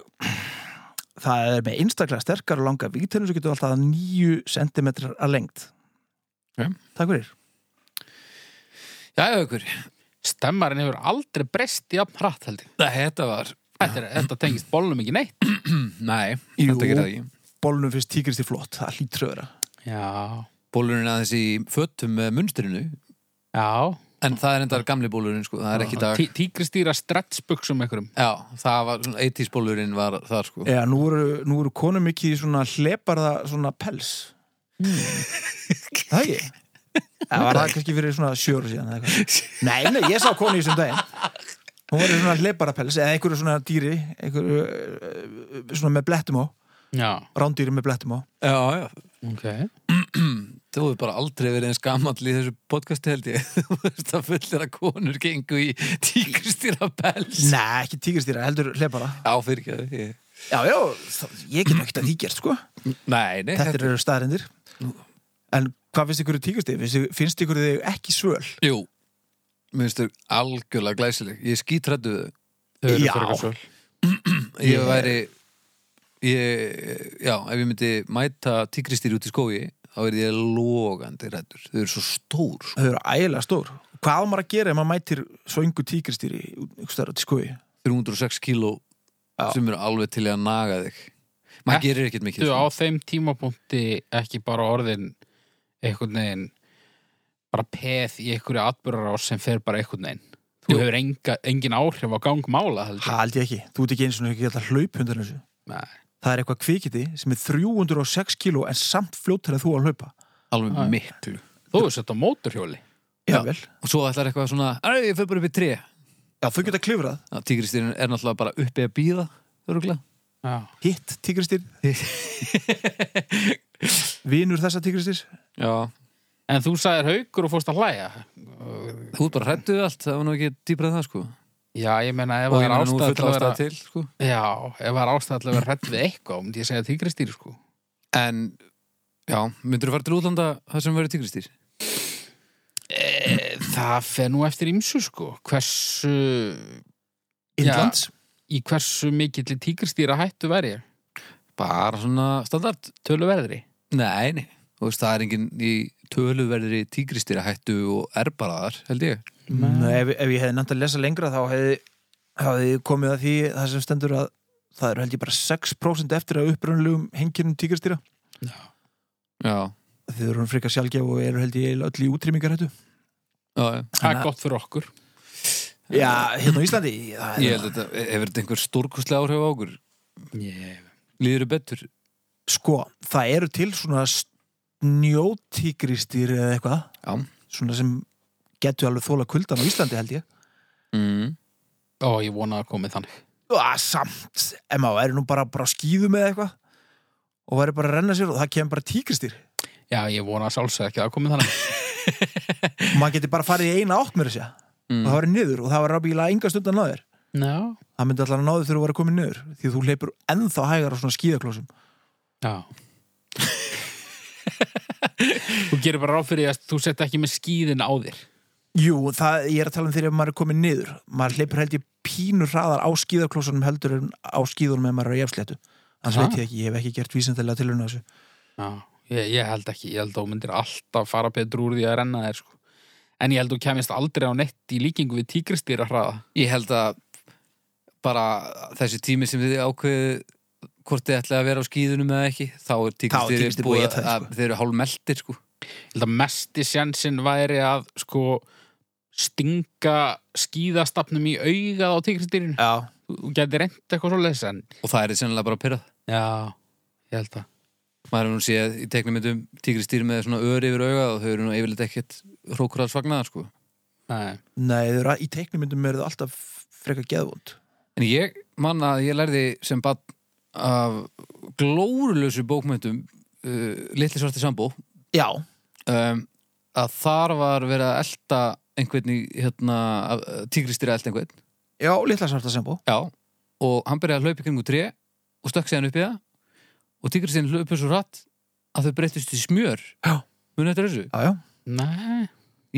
Speaker 1: það er með einstaklega sterkar og langa vígtennur sem getur alltaf 9 cm að lengt
Speaker 3: Ok.
Speaker 1: Takk fyrir
Speaker 3: Jæja ykkur,
Speaker 2: Stemmarinn hefur aldrei breyst í að hratt held ég.
Speaker 3: Nei, þetta var
Speaker 2: Þetta, er, þetta tengist bólnum ekki neitt.
Speaker 3: Nei,
Speaker 1: Jú.
Speaker 3: þetta gerir það ekki
Speaker 1: Bólnum finnst tígrist í flott, það hlýtur að vera
Speaker 2: Já.
Speaker 3: Bólurinn aðeins í föttum með munstrinu
Speaker 2: Já.
Speaker 3: en það er endar gamli bólurinn sko, það er ekki í dag
Speaker 2: Tí, tígristýra stretchbuxum einhverjum.
Speaker 3: Já, það var svona 80s bólurinn var þar sko
Speaker 1: Já, nú eru, nú eru konum ekki í svona hleparða svona pels Mm. Það ekki Það var það kannski fyrir svona sjóru síðan eða eitthvað. Nei, nei, ég sá konu í þessum daginn Hún var í svona hleparapels eða einhverju svona dýri einhverju eh, svona með blettum á
Speaker 2: Já.
Speaker 1: rándýri með blettum á
Speaker 3: Já, já,
Speaker 2: Ok.
Speaker 3: þú hefur bara aldrei verið eins gamall í þessu podcasti held ég [laughs] Þú veist að fullir að konur gengu í tíkristýra pels
Speaker 1: Nei, ekki tígristýra, heldur hlepara
Speaker 3: Já, fyrir ekki að ég
Speaker 1: Já, já, það, ég get ekki að því gert, sko
Speaker 3: Nei, nei,
Speaker 1: Þetta eru staðrindir En hvað finnst ykkur tígristýr? Finnst, finnst ykkur þau ekki svöl?
Speaker 3: Jú, minnstu algjörlega glæsileg Ég skítrættu við þau.
Speaker 2: Þau eru
Speaker 1: Já.
Speaker 2: frekar svöl.
Speaker 3: Ég væri ég, Já, ef ég myndi mæta tíkristýri út í skói þá verði ég logandi rættur Þau eru svo stór sko.
Speaker 1: Þau eru ægilega stór. Hvað á maður að gera ef maður mætir svöngu tíkristýri einhverstaðar til skoði?
Speaker 3: 306 kíló
Speaker 1: Já.
Speaker 3: sem eru alveg til í að naga þig Maður
Speaker 2: Ertu
Speaker 3: gerir ekkert mikið
Speaker 2: Þú á
Speaker 3: sko.
Speaker 2: þeim tímapunkti ekki bara orðin einhvern veginn bara peð í einhverju atbyrðarás sem fer bara einhvern veginn. Þú
Speaker 3: Jú.
Speaker 2: hefur enga, engin áhrif á gang mála held ég.
Speaker 1: Það held ég ekki. Þú ert ekki eins og ekki alltaf hlaup undan þessu.
Speaker 2: Nei.
Speaker 1: Það er eitthvað kvikiti sem er 306 kíló en samt fljóttur en þú að hlaupa.
Speaker 3: Alveg
Speaker 2: Já.
Speaker 3: miklu
Speaker 2: Þú hefur sett á móturhjóli.
Speaker 1: Já,
Speaker 3: Já.
Speaker 1: vel.
Speaker 3: Og svo ætlar eitthvað svona, "Æ, ég fer bara upp í tré
Speaker 1: Já, þau geta klifrað.
Speaker 3: Tíkristýrin er náttúrulega bara uppi að býða Öruglega
Speaker 2: Já.
Speaker 1: Hitt [laughs] tíkristýr. Vinur þessa tíkristýr.
Speaker 3: Já,
Speaker 2: En þú sagðir haukur og fórst að hlæja.
Speaker 3: þú ert bara hrættu við allt Það var nú ekki dýbrað það sko
Speaker 2: Já, ég meina ef
Speaker 3: Og
Speaker 2: það
Speaker 3: ég
Speaker 2: er
Speaker 3: meina nú
Speaker 2: ástæða
Speaker 3: full
Speaker 2: til að
Speaker 3: ástæða
Speaker 2: vera
Speaker 3: til sko
Speaker 2: Já, ef það er ástæða til að vera hrætt við eitthvað, myndi ég segja tígristýr, sko.
Speaker 3: En, já, myndur þú fara til útlanda það sem verður tígristýr?
Speaker 2: E, það fer nú eftir ímsu, sko. Hversu,
Speaker 1: Indlands.
Speaker 2: í hversu mikill tígristýra hættu verið?
Speaker 3: Bara svona standard?
Speaker 2: Töluverðri?
Speaker 3: Nei, nei. Þú veist, það er enginn í töluverðri tígristýra hættu og er bara þar, held ég.
Speaker 1: Nei, Mm, ef, ef ég hefði nefnt að lesa lengra þá hefði, hefði komið að því það sem stendur að það eru held ég bara 6% eftir að upprunalegum henginum tíkristýra.
Speaker 3: Já,
Speaker 1: Þau eru hann frekar sjálfgef og eru held ég öll í útrýmingarhættu.
Speaker 3: já, já.
Speaker 2: Það er gott fyrir okkur.
Speaker 1: Já, hérna á Íslandi það er-
Speaker 3: Ég held að þetta, hefur þetta einhver stórkustlega áhrif á okkur?
Speaker 2: Yeah.
Speaker 3: Líður þau betur?
Speaker 1: Sko, það eru til svona snjótígristýr eða eitthvað
Speaker 3: Já.
Speaker 1: Svona sem getur alveg þóla kuldan á Íslandi held ég
Speaker 3: Mm.
Speaker 2: Ó, ég vona að komið þannig.
Speaker 1: Á, samt, ef maður væri nú bara, bara á skýðum eða eitthvað Og væri bara að renna sér og það kemur bara tígristýr
Speaker 2: Já, ég vona að sjálfsög ekki að það komið þannig.
Speaker 1: Og maður getur bara farið í eina átt mér að segja Og
Speaker 3: Mm.
Speaker 1: það væri niður og það var rábíla enga stundan náður
Speaker 2: Já.
Speaker 1: Það myndi allan að náður þegar þú væri komin niður Því að þú hleypur ennþá hægar á svona skýðaklósum
Speaker 2: Já. þú gerir bara ráð fyrir því að þú sett ekki með skíðin á þér.
Speaker 1: Jú, það, ég er að tala um þegar maður er komin niður Maður hleypur held ég pínur hraðar á skýðaklósunum heldur en á skýðunum ef maður er á jafnsléttu Þannig
Speaker 2: Ha?
Speaker 1: veit ég ekki, ég hef ekki gert vísindilega tilhörna þessu
Speaker 2: Já, ég, ég held ekki, ég held að þú myndir alltaf fara betur úr því að renna þér sko. En ég held þú kemist aldrei á nett í líkingu við tígristýra hraða.
Speaker 3: Ég held að bara þessi tími sem þið ákveðu hvort þið ætlaði að vera á skíðunum eða ekki þá er tíkast
Speaker 1: tígrisdýr
Speaker 3: búið
Speaker 1: búið að
Speaker 3: að,
Speaker 1: éta þig,
Speaker 3: að þeir eru hálf meldir sko.
Speaker 2: Ég held að mesti sjansinn væri að sko stinga skíðastafnum í augað á tígristýrinu.
Speaker 1: Já,
Speaker 2: Þú geti reynd eitthvað svo leys en
Speaker 3: og það er sennilega bara að pyrra
Speaker 2: já, ég held að.
Speaker 3: maður hefur nú séð í teknimyndum tíkristýr með svona ör yfir auga og þau eru nú yfirleitt ekkert hrókur að svagnaða sko.
Speaker 2: Nei.
Speaker 1: nei, þau eru að- í teiknumyndum eru þau alltaf frekar geðvond
Speaker 3: en ég man að ég lærði sem bann af glórulösu bókmyndum uh, Litli svarti sambó
Speaker 1: Já,
Speaker 3: um, að þar var verið að elta einhvern í hérna, tíkristýr að elta einhvern
Speaker 1: já, litla svarta sembó
Speaker 3: Já, og hann byrjaði að hlaupa í kringu tré og stökk séðan upp í það og tíkristinn hlaupa svo hratt að þau breyttust í smjör
Speaker 1: Já.
Speaker 3: Munið eftir þessu?
Speaker 1: Já, já
Speaker 2: Nei.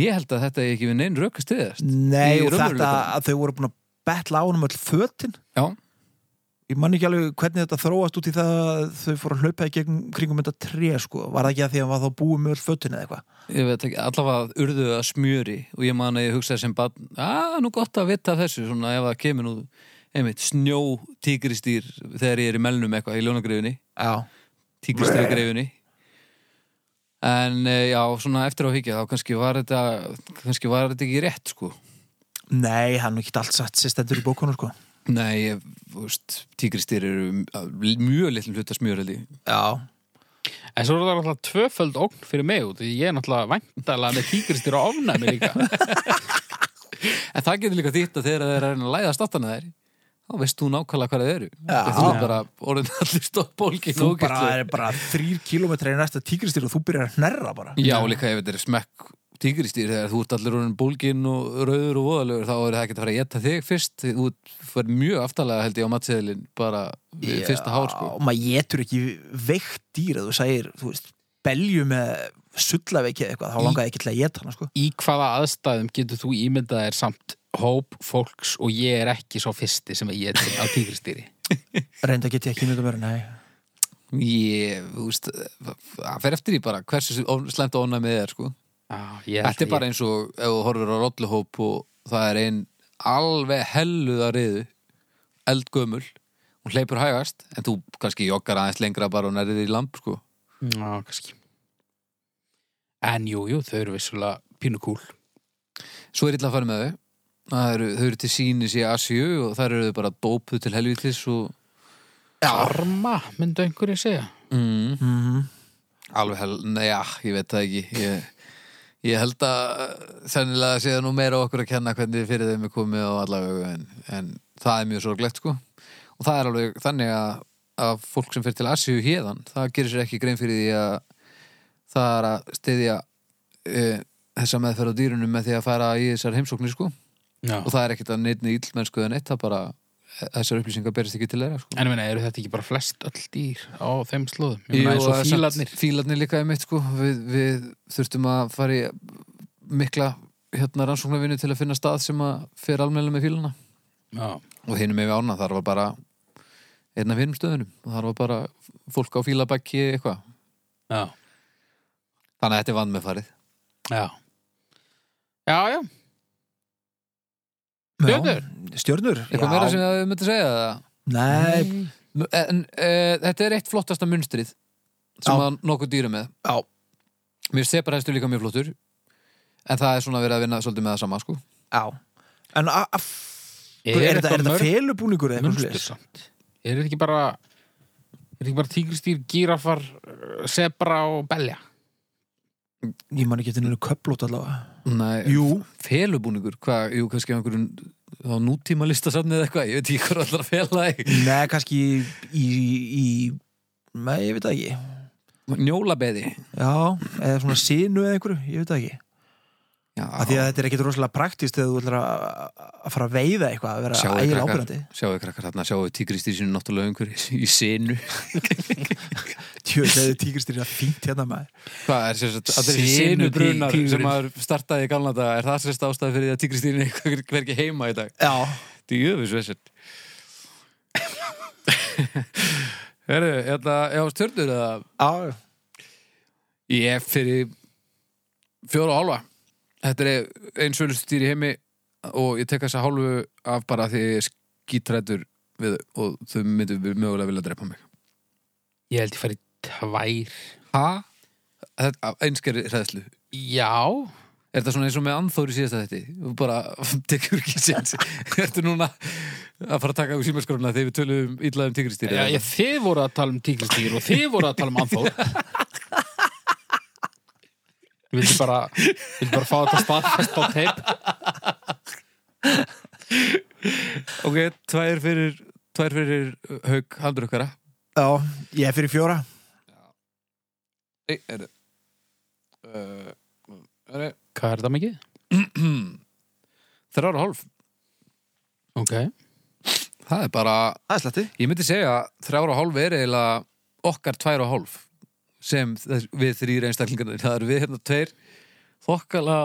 Speaker 3: Ég held að þetta er ekki við neinn rökast til þess
Speaker 1: Nei,
Speaker 3: Í
Speaker 1: og þetta
Speaker 3: raunveruleikanum.
Speaker 1: að þau voru búin að betla á honum öll fötin
Speaker 3: Já.
Speaker 1: Ég man ekki alveg hvernig þetta þróast út í það að þau fóru að hlaupa í gegn kringum þetta tré sko, var það ekki að því að hann var þá búið með öll fötin eða eitthvað
Speaker 3: Ég veit ekki, allavega urðu að smjöri og ég man að ég hugsaði sem bara að nú gott að vita af þessu svona ef það kemur nú einmitt snjó tíkristýr þegar ég er í melnum eitthvað í ljónagreifinni
Speaker 1: Já,
Speaker 3: tíkristýragreifinni en eh, já, svona eftir á higgja þá kannski var þetta kannski var þetta ekki rétt sko
Speaker 1: Nei, hann er ekki allt satt sér stendur í bókunum sko.
Speaker 3: Nei, ég, þú veist, tíkristýr eru að mjög litlum hluta smjör held ég.
Speaker 1: Já
Speaker 2: En svo er það alltaf tvöföld ógn fyrir mig út því ég er náttúrulega væntalega með tígristýra ofnæmi líka.
Speaker 3: En það getur líka þýtt að þegar það er að reyna að læða stottana þeir, þá veist þú nákvæmlega hvað það eru.
Speaker 1: Já.
Speaker 3: Þú er bara orðin [laughs] allir stoppbólkin
Speaker 1: Þú bara er bara þrýr kilometri í næsta tígristýr og þú byrjar að hnerra bara
Speaker 3: Já, líka ef þetta er smekk tíkristýr þegar þú ert allir orðin bólkin og rauður og voðalegur, þá er það ekki að fara að geta þig fyrst. Þú fyrir mjög aftalega held ég á matseðilin bara við fyrsta hár sko.
Speaker 1: og maður getur ekki veikt dýr að þú segir, þú veist, belju með sullaveiki eða eitthvað, þá langaði ekki til að geta hana sko.
Speaker 2: Í hvaða aðstæðum getur þú ímyndað þér samt hóp fólks og ég er ekki svo fyrsti sem að ég er til á tígristýri?
Speaker 1: reynda get ég ekki mynda mér, nei
Speaker 3: Ég, þú veist, það fer eftir í bara hversu slæmt ónæmið er sko.
Speaker 2: Já, ég
Speaker 3: Þetta er bara eins og ef þú horfir á rolluhóp og það er ein alveg helluða reyðu eldgömul, hún hleypur hægast en þú kannski joggar aðeins lengra bara og nærið í lamp sko.
Speaker 2: Já, kannski. En jú, jú, þau eru vissulega pínu kúl.
Speaker 3: Svo er illa að fara með þau Það eru, þau eru til sínis í Asíu og þar eru þau bara dópuð til helvitis og
Speaker 2: Karma, myndu einhverju segja.
Speaker 3: mm,
Speaker 1: mm
Speaker 3: alveg hel, neja, ég veit það ekki ég, ég held að eh, sennilega séða nú meira okkur að kenna hvernig fyrir þeim er komið og allavega en, en það er mjög sorglegt sko og það er alveg þannig að, að fólk sem fyrir til Asíu hérðan það gerir sér ekki grein fyrir því að það er að styðja e, þessa meðferð á dýrunum með því að fara í þessar heimsóknir sko
Speaker 2: Já.
Speaker 3: og það er ekkit að neittni íllmennsku eða neitt það bara þessar upplýsingar berist ekki til þeirra sko.
Speaker 2: En ég meina, eru þetta ekki bara flest öll dýr á þeim slóðum? Ég
Speaker 3: Jú,
Speaker 2: meina, eins og
Speaker 3: það er
Speaker 2: fílarnir.
Speaker 3: samt- Fílarnir líka einmitt sko við, við þurftum að fara í mikla hérna rannsóknarvinnu til að finna stað sem að fer almennilega með fílarna
Speaker 2: Já.
Speaker 3: og hinum yfir ána þar var bara einn af hinum stöðunum og þar var bara fólk á fílabækki eitthvað
Speaker 2: Já.
Speaker 3: þannig að þetta er vann með farið
Speaker 2: Já. Já, já. Stjörnur?
Speaker 1: stjörnur
Speaker 3: eitthvað
Speaker 1: já.
Speaker 3: meira sem þið myndi segja það?
Speaker 1: nei,
Speaker 3: en e, þetta er eitt flottasta munstrið
Speaker 1: Já.
Speaker 3: sem að nokkuð dýra með
Speaker 1: já,
Speaker 3: mér sé bara hæstu líka mjög flottur en það er svona verið að vinna svolítið með það sama sko
Speaker 1: já en a- af
Speaker 2: Er
Speaker 1: er, er þetta,
Speaker 2: eitthvað
Speaker 1: er þetta
Speaker 2: mörg-
Speaker 1: felubúningur eða eitthvað
Speaker 2: munstur
Speaker 1: slis
Speaker 2: samt er þetta ekki bara er þetta ekki bara tígristýr, gírafar sebra og belja
Speaker 1: ég man ekki eftir nýju köplót allavega
Speaker 3: Nei,
Speaker 1: jú,
Speaker 3: felubúningur, hvað, jú, kannski á einhverjum á nútíma listasafni eða eitthvað ég veit ekki hvað allar að fela í
Speaker 1: nei, kannski í, í nei, ég veit það ekki
Speaker 3: njólabeði
Speaker 1: já, eða svona sinu eða einhverju, ég veit það ekki Af því
Speaker 3: Já,
Speaker 1: að þetta er ekkit rosalega praktist þegar þú ætlar að að fara að veiða eitthvað að vera
Speaker 3: Sjáðu,
Speaker 1: ægilega
Speaker 3: krakkar.
Speaker 1: ábyrjandi
Speaker 3: sjáu krakkar þarna, sjáu tígristýr sínu náttúrulega einhverju í sinu
Speaker 1: Tjö, þegar tíkristýrina fínt hérna maður
Speaker 3: Hvað er sérst að
Speaker 2: allir
Speaker 3: þetta er
Speaker 2: þessi
Speaker 3: sinubrunar
Speaker 2: tígurinn.
Speaker 3: sem maður startaði í galna daga, er það sérst ástæði fyrir því að tígristýrin er hver- hver ekki heima í dag
Speaker 1: Já,
Speaker 3: Þetta er jöfus vesett Herru, hérna, já, stjörnur eða
Speaker 1: já,
Speaker 3: Ég fyrir fjóra og hálfa Þetta er einn svölustu dýr í heimi og ég tek þessa hálfu af bara því ég er skítrættur við þau og þau myndu mögulega vilja drepa mig.
Speaker 2: Ég held ég færi tvær.
Speaker 3: Ha? Þetta einskeri hræðslu.
Speaker 2: Já,
Speaker 3: Er þetta svona eins og með anþóri síðast að þetta? Þú bara [laughs] tekur ekki séns. Ertu núna að fara að taka úr símarskrona þegar við tölum illa um tigristýri?
Speaker 2: já ég, þið voru að tala um tíklistýr og þið voru að tala um anþór. Ég vildi bara, vildi bara fá þetta staðfest á teip.
Speaker 3: Ok, tvær fyrir, tvær fyrir uh, haug haldur okkara.
Speaker 1: Já, ég er fyrir fjóra
Speaker 3: Nei, er það. Uh, er
Speaker 2: Hvað er þetta mikið?
Speaker 3: Þrjára hálf.
Speaker 2: Ok.
Speaker 3: Það er bara,
Speaker 1: Það er sletti
Speaker 3: ég myndi segja að þrjára og hálf er eiginlega okkar tvær og hálf sem þess, við þrýra einstaklingarnir. Það eru við hérna tveir þokkala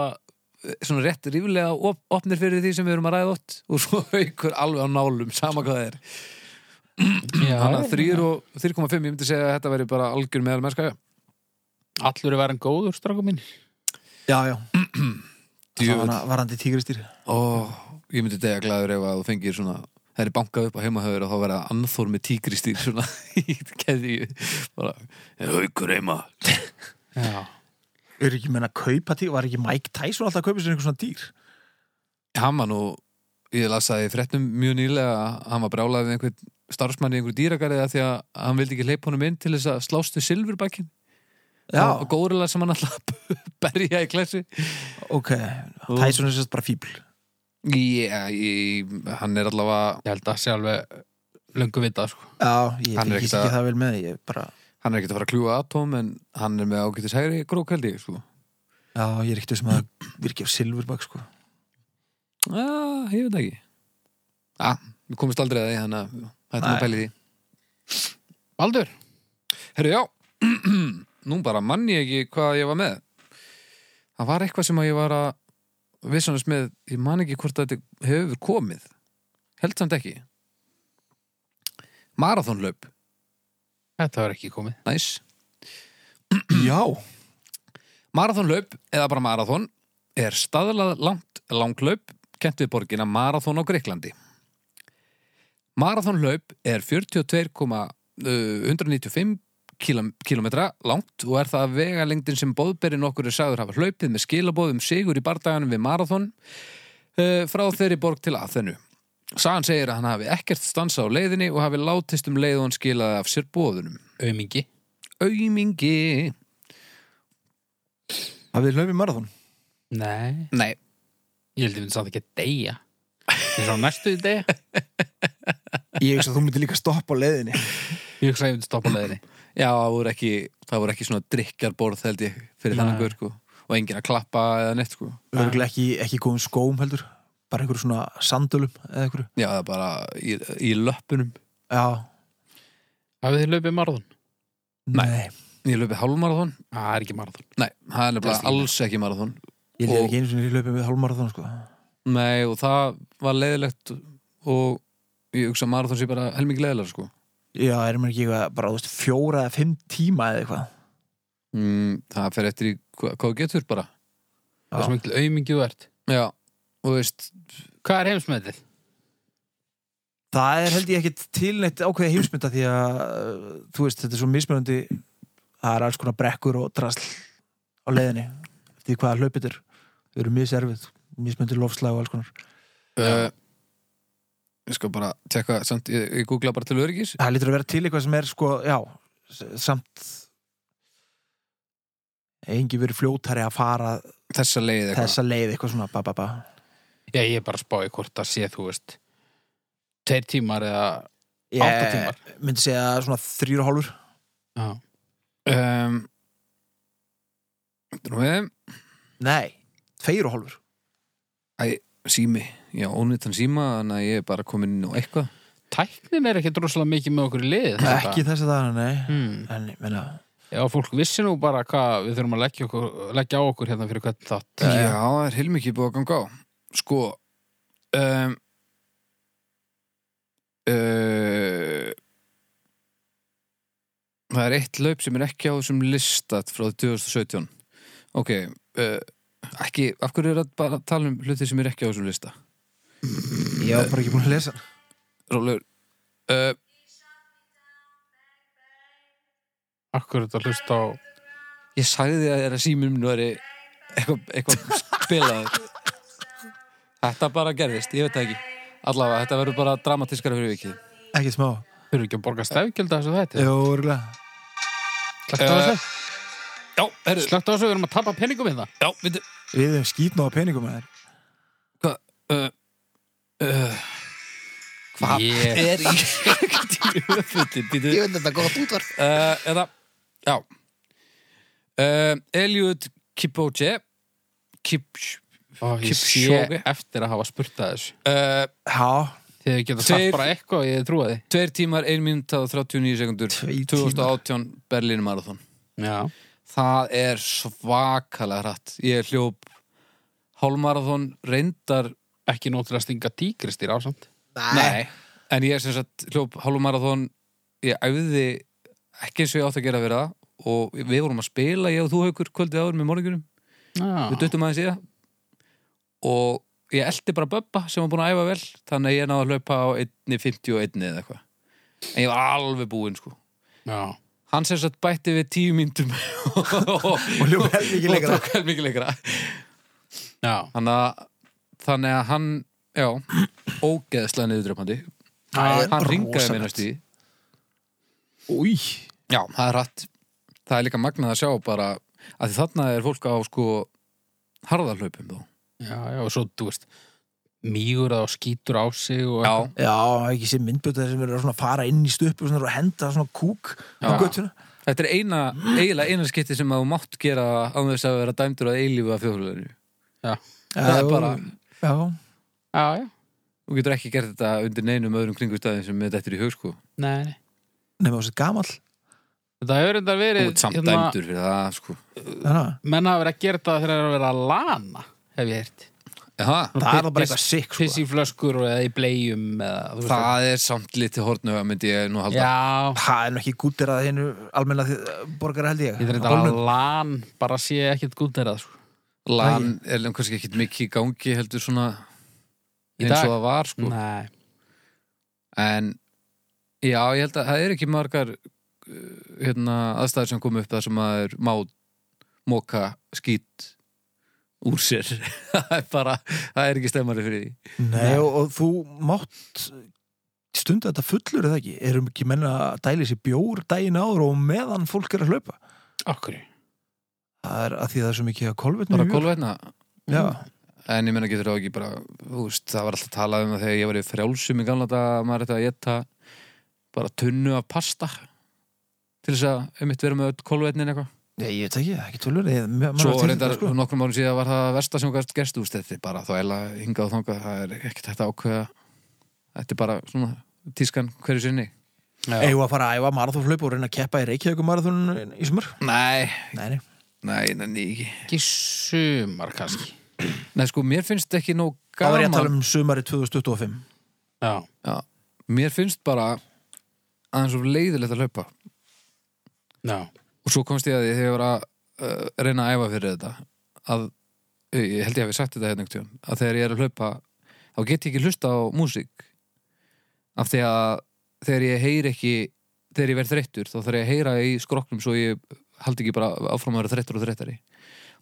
Speaker 3: svona rétt ríflega op opnir fyrir því sem við erum að ræða ótt og svo [laughs] haukur alveg á nálum sama hvað það hérna. er.
Speaker 2: Já,
Speaker 3: Þannig að þrír og 3,5 ég myndi segja að þetta veri bara algjör meðal mennska.
Speaker 2: Allur er verið góður, strákum mín.
Speaker 1: Já, já, það
Speaker 3: Djöfull.
Speaker 1: var varandi tígristýr
Speaker 3: Ó, ég myndi degja glæður ef að þú fengir svona það er bankað upp á heimahöfur og þá verða anþór með tígristýr svona [laughs] í keðju bara, er haukur heima
Speaker 2: Já.
Speaker 1: Er ekki menn að kaupa tígr, var ekki Mike Tyson alltaf að kaupa sér einhver svona dýr
Speaker 3: hann var nú, ég lasaði fréttum mjög nýlega að hann var brjálaðið við einhvern starfsmann í einhverju dýragarðið því að hann vildi ekki hleypa honum inn til þess að slástu silfurbakkin og górilega sem hann alltaf [laughs] berja í klessu
Speaker 1: ok, Tyson er sérst bara fíbl
Speaker 3: yeah, ég, hann er allavega
Speaker 2: Ég held að það sé alveg löngu vitað, sko.
Speaker 1: Já, ég
Speaker 3: Hann er
Speaker 1: fylgist
Speaker 3: ekkert að-
Speaker 1: ekki það vel með ég bara,
Speaker 3: hann er ekkert að fara að kljúa atóm en hann er með ágættis hægri grók held ég sko.
Speaker 1: Já, ég er ekkert sem að virki á silfurbak sko.
Speaker 3: Já, ég veit ekki Já, við komist aldrei að því þannig að þetta er
Speaker 1: Nei.
Speaker 3: að pæli því
Speaker 2: Baldur,
Speaker 3: Herru, já, [clears throat] nú bara manni ég ekki hvað ég var með Það var eitthvað sem að ég var að vissanast með, ég man ekki hvort þetta hefur komið held samt ekki Marathonlaup,
Speaker 2: þetta var ekki komið.
Speaker 3: næs
Speaker 1: Já
Speaker 3: Marathonlaup eða bara marathon er staðlað langt langlaup kent við borgina Marathon á Greiklandi. Marathonlaup er uh, 42,195 kilometra langt og er það vegalengdin sem boðberinn okkur er sagður hafa hlaupið með skilabóðum sigur í bardaganum við Marathon uh, frá þeirri borg til Aþenu. Sagan segir að hann hafi ekkert stansa á leiðinni og hafi látist um leið og hann skilaði af sér bóðunum.
Speaker 2: Aumingi.
Speaker 3: Aumingi!
Speaker 1: Hafið hlaupið marathon?
Speaker 2: Nei.
Speaker 3: Nei,
Speaker 2: Ég held að við samt ekki að deyja. Ég er svo næstu í [laughs] deyja.
Speaker 1: Ég veist að þú myndir líka stoppa á leiðinni
Speaker 2: Ég hugsa að ég myndi stoppa á leiðinni.
Speaker 3: Já, það voru ekki, það voru ekki svona drikkarborð held ég fyrir
Speaker 2: Nei.
Speaker 3: þannig gaur sko og enginn að klappa eða neitt sko
Speaker 1: Örgulega ekki, ekki góðum skóm heldur bara einhverju svona sandölum eða einhverju
Speaker 3: Já, það er bara í, í löppunum
Speaker 1: Já,
Speaker 2: Hafið þið hlaupið marathon?
Speaker 1: nei,
Speaker 3: Ég löpið hálfmarathon
Speaker 2: Á, Það Ah, er ekki marathon.
Speaker 3: Nei, það er
Speaker 2: Það er
Speaker 3: nefnilega alls ekki marathon
Speaker 1: ég lef
Speaker 3: Og-
Speaker 1: ekki einu sinni hlaupið með hálfmarathon sko.
Speaker 3: Nei, og það var leiðilegt og ég hugsa að marathon sé bara helmingi leiðilega sko
Speaker 1: Já, erum við ekki eitthvað bara þú veist, fjóra eða fimm tíma eða eitthvað
Speaker 3: mm, Það fer eftir í hva, hvað þú getur bara
Speaker 1: Já.
Speaker 2: Það er svo mikil aumingi þú ert.
Speaker 3: Já, og veist
Speaker 2: Hvað er heimsmetið?
Speaker 1: Það er held ég ekkit tilnætt ákveði heimsmynda því að uh, þú veist, þetta er svo mismunandi það er alls konar brekkur og drasl á leiðinni, eftir hvaða hlaupið er þau eru miserfið, mismunandi lofslag og alls konar.
Speaker 3: uh, Ég skal bara tekka, samt, ég, ég googla bara til öryggis
Speaker 1: Það lítur að vera til eitthvað sem er sko, já, s- samt engi verið fljótari að fara
Speaker 3: Þessa leið eitthvað
Speaker 1: þessa leið eitthvað svona, ba ba ba
Speaker 2: Já, ég er bara að spáði hvort það sé, þú veist, tveir tímar eða átta
Speaker 1: Ég
Speaker 2: tímar.
Speaker 1: myndi segja svona þrýr og hálfur
Speaker 2: Já.
Speaker 3: um, Þetta er nú við
Speaker 1: Nei, tveir og hálfur
Speaker 3: sími, já, ónýttan síma þannig að ég er bara komin inn á eitthvað
Speaker 2: Tæknin er ekki droslega mikið með okkur í lið.
Speaker 1: Ekki þess að það, nei
Speaker 2: Hmm.
Speaker 1: En, ég meina,
Speaker 2: Já, fólk vissi nú bara hvað við þurfum að leggja, okkur, leggja á okkur hérna fyrir hvern þátt.
Speaker 3: Já, það er heilmikið búið að ganga á Sko um, e, uh, Það er eitt laup sem er ekki á þessum listat frá 2017 Ok, uh, ekki, af hverju er að bara að tala um hluti sem er ekki á þessum lista?
Speaker 1: Ég var bara ekki búin að lesa hann.
Speaker 3: Rólaugur, uh,
Speaker 2: Akkur er þetta að hlusta á
Speaker 3: ég sagði þér að þeirra símum nú er eitthvað eitthva spilaður. þetta bara gerðist, ég veit það ekki. Allavega, þetta verður bara dramatískara fyrir vikið.
Speaker 1: Ekki smá.
Speaker 2: Þau eru ekki að borga stefgjölda þessu þetta
Speaker 1: Jó, örgulega.
Speaker 2: Slögt á
Speaker 3: Eh,
Speaker 2: þessu,
Speaker 3: Já, herru,
Speaker 2: slögt á þessu, við erum að tapa peningum hérna. í það
Speaker 3: já, veitu,
Speaker 1: Við hefum skýtnað á peningum að þér.
Speaker 3: hvað, uh, uh, hvað
Speaker 2: Ég-
Speaker 3: er í höfutin, býtu?
Speaker 4: Ég veit þetta gott útvarp
Speaker 3: uh, eða, já uh, Eliud Kipchoge Kipch
Speaker 2: Ó, Ég
Speaker 3: Kipchoge.
Speaker 2: sé eftir að hafa spurt að þessu
Speaker 3: uh,
Speaker 1: Já,
Speaker 2: Þið geta sagt
Speaker 3: Þeir-
Speaker 2: bara eitthvað, ég trúa því
Speaker 3: Tveir tímar, ein minúta og 39 sekundur
Speaker 1: Tveir
Speaker 3: 2018 Berlín Marathon
Speaker 2: Já,
Speaker 3: Það er svakalega hratt Ég hljóp hálmarathon reyndar
Speaker 2: ekki nóg til að stinga tígrist í rásamt
Speaker 3: Nei, en ég sem sagt hljóp hálfumarathon ég æfði ekki eins og ég átt að gera vera og við vorum að spila ég og þú haukur kvöldið áður með morgunum við
Speaker 2: Já,
Speaker 3: duttum aðeins í það og ég eldi bara Böbba sem var búin að æfa vel þannig að ég náði að hlaupa á 1.51 eða eitthvað en ég var alveg búinn sko
Speaker 2: já
Speaker 3: hann sem sagt bætti við tíu [laughs] myndum og,
Speaker 1: og ljóðum heldur ekki
Speaker 3: og
Speaker 1: lengra.
Speaker 3: tók vel mikið leikra
Speaker 2: Já,
Speaker 3: þannig að, þannig að hann já, ógeðslega niðurdröpandi
Speaker 2: já,
Speaker 3: hann ringaði
Speaker 1: rosalegt.
Speaker 3: mér næstu í
Speaker 1: Új.
Speaker 3: Já, það er rætt Það er líka magnað að sjá bara að því þarna er fólk á sko harðarhlaupum þó
Speaker 2: já, og svo, þú veist Mígur það og skýtur á sig og
Speaker 3: Já,
Speaker 1: Já, ekki sem myndbjöndar sem eru að svona fara inn í stöpu og svona og henda svona kúk á
Speaker 3: Já.
Speaker 1: göttuna.
Speaker 3: þetta er eina, eiginlega eina skipti sem að þú mátt gera án þess að vera dæmdur að eilífu að þjóðfélaginu Það er bara,
Speaker 1: Já,
Speaker 2: já, já.
Speaker 3: þú getur ekki gert þetta undir neinum öðrum kringustæðin sem þetta er í hug sko
Speaker 2: Nei, nei.
Speaker 1: nema þessi gamall.
Speaker 2: Þetta hefur þetta
Speaker 3: Þú
Speaker 2: verið
Speaker 3: ert samt
Speaker 2: hérna,
Speaker 3: dæmdur fyrir það sko
Speaker 1: Þannig að
Speaker 2: menn hafa verið að gera þetta þegar þeir eru að vera að lana hef ég heyrt
Speaker 3: Eha,
Speaker 1: það er þá bara
Speaker 2: piss-
Speaker 1: eitthvað sikk, sko.
Speaker 2: piss í flöskur og eða í blegjum eða, þú veist
Speaker 3: Það er samt litið hortnöga myndi ég nú halda
Speaker 2: Já,
Speaker 1: Það er nú ekki gúttir að hinu almenna borgara held ég.
Speaker 2: ég þarf þetta að lan bara sé ekkert gúnderað sko.
Speaker 3: Lan er lengur kannski ekkit mikið í gangi heldur svona
Speaker 2: Í
Speaker 3: eins
Speaker 2: dag?
Speaker 3: og það var sko
Speaker 2: Nei,
Speaker 3: en já, ég held að það er ekki margar uh, hérna, aðstæður sem kom upp þar sem maður má móka skýt úr sér [laughs] það er bara, það er ekki stemmari fyrir því
Speaker 1: Nei, og, og þú mátt stundu þetta fullur eða ekki erum ekki menna að dæli sér bjór dægin áður og meðan fólk er að hlaupa
Speaker 2: okkur
Speaker 1: það er að því það er svo mikið að kolvetni
Speaker 3: bara
Speaker 1: í jörð.
Speaker 3: kolvetna,
Speaker 1: Já,
Speaker 3: en ég menna getur það ekki bara, þú veist, það var alltaf talað um að þegar ég var í frjálsum í gamla daga að maður ætti að geta bara tunnu af pasta til þess að einmitt vera með öll kolvetnin eitthvað
Speaker 1: Nei, ég veit ekki, ekki tölur ég, maður
Speaker 3: Svo
Speaker 1: var til
Speaker 3: reyndar
Speaker 1: þetta, sko.
Speaker 3: nokkrum árum síðan var það versta sem gæst gerst úr þetta er bara þá eila hingað og þangað það er ekkert hægt að ákveða þetta er bara svona tískan hverju sinni
Speaker 1: eigum við að fara að æfa marathóflaup og reyna að keppa í Reykjavíkum marathónun í sumar
Speaker 3: Nei,
Speaker 1: Nei, nei,
Speaker 3: nei, nei, ekki
Speaker 2: Ekki sumar kannski
Speaker 3: Nei, sko, mér finnst ekki nóg
Speaker 1: þá var ég
Speaker 3: gaman
Speaker 1: að tala um sumari 2025
Speaker 2: Já,
Speaker 3: Já, Mér finnst bara aðeins of leiðilegt að hlaupa
Speaker 2: já,
Speaker 3: og svo komst ég að því þegar ég var að uh, reyna að æfa fyrir þetta að, ég held ég hafi sagt þetta hérna einhvern tíðan, að þegar ég er að hlaupa þá get ég ekki hlusta á músík af því að þegar ég heyr ekki, þegar ég verð þreyttur þá þarf ég að heyra í skroknum svo ég haldi ekki bara áfram að vera þreyttur og þreyttari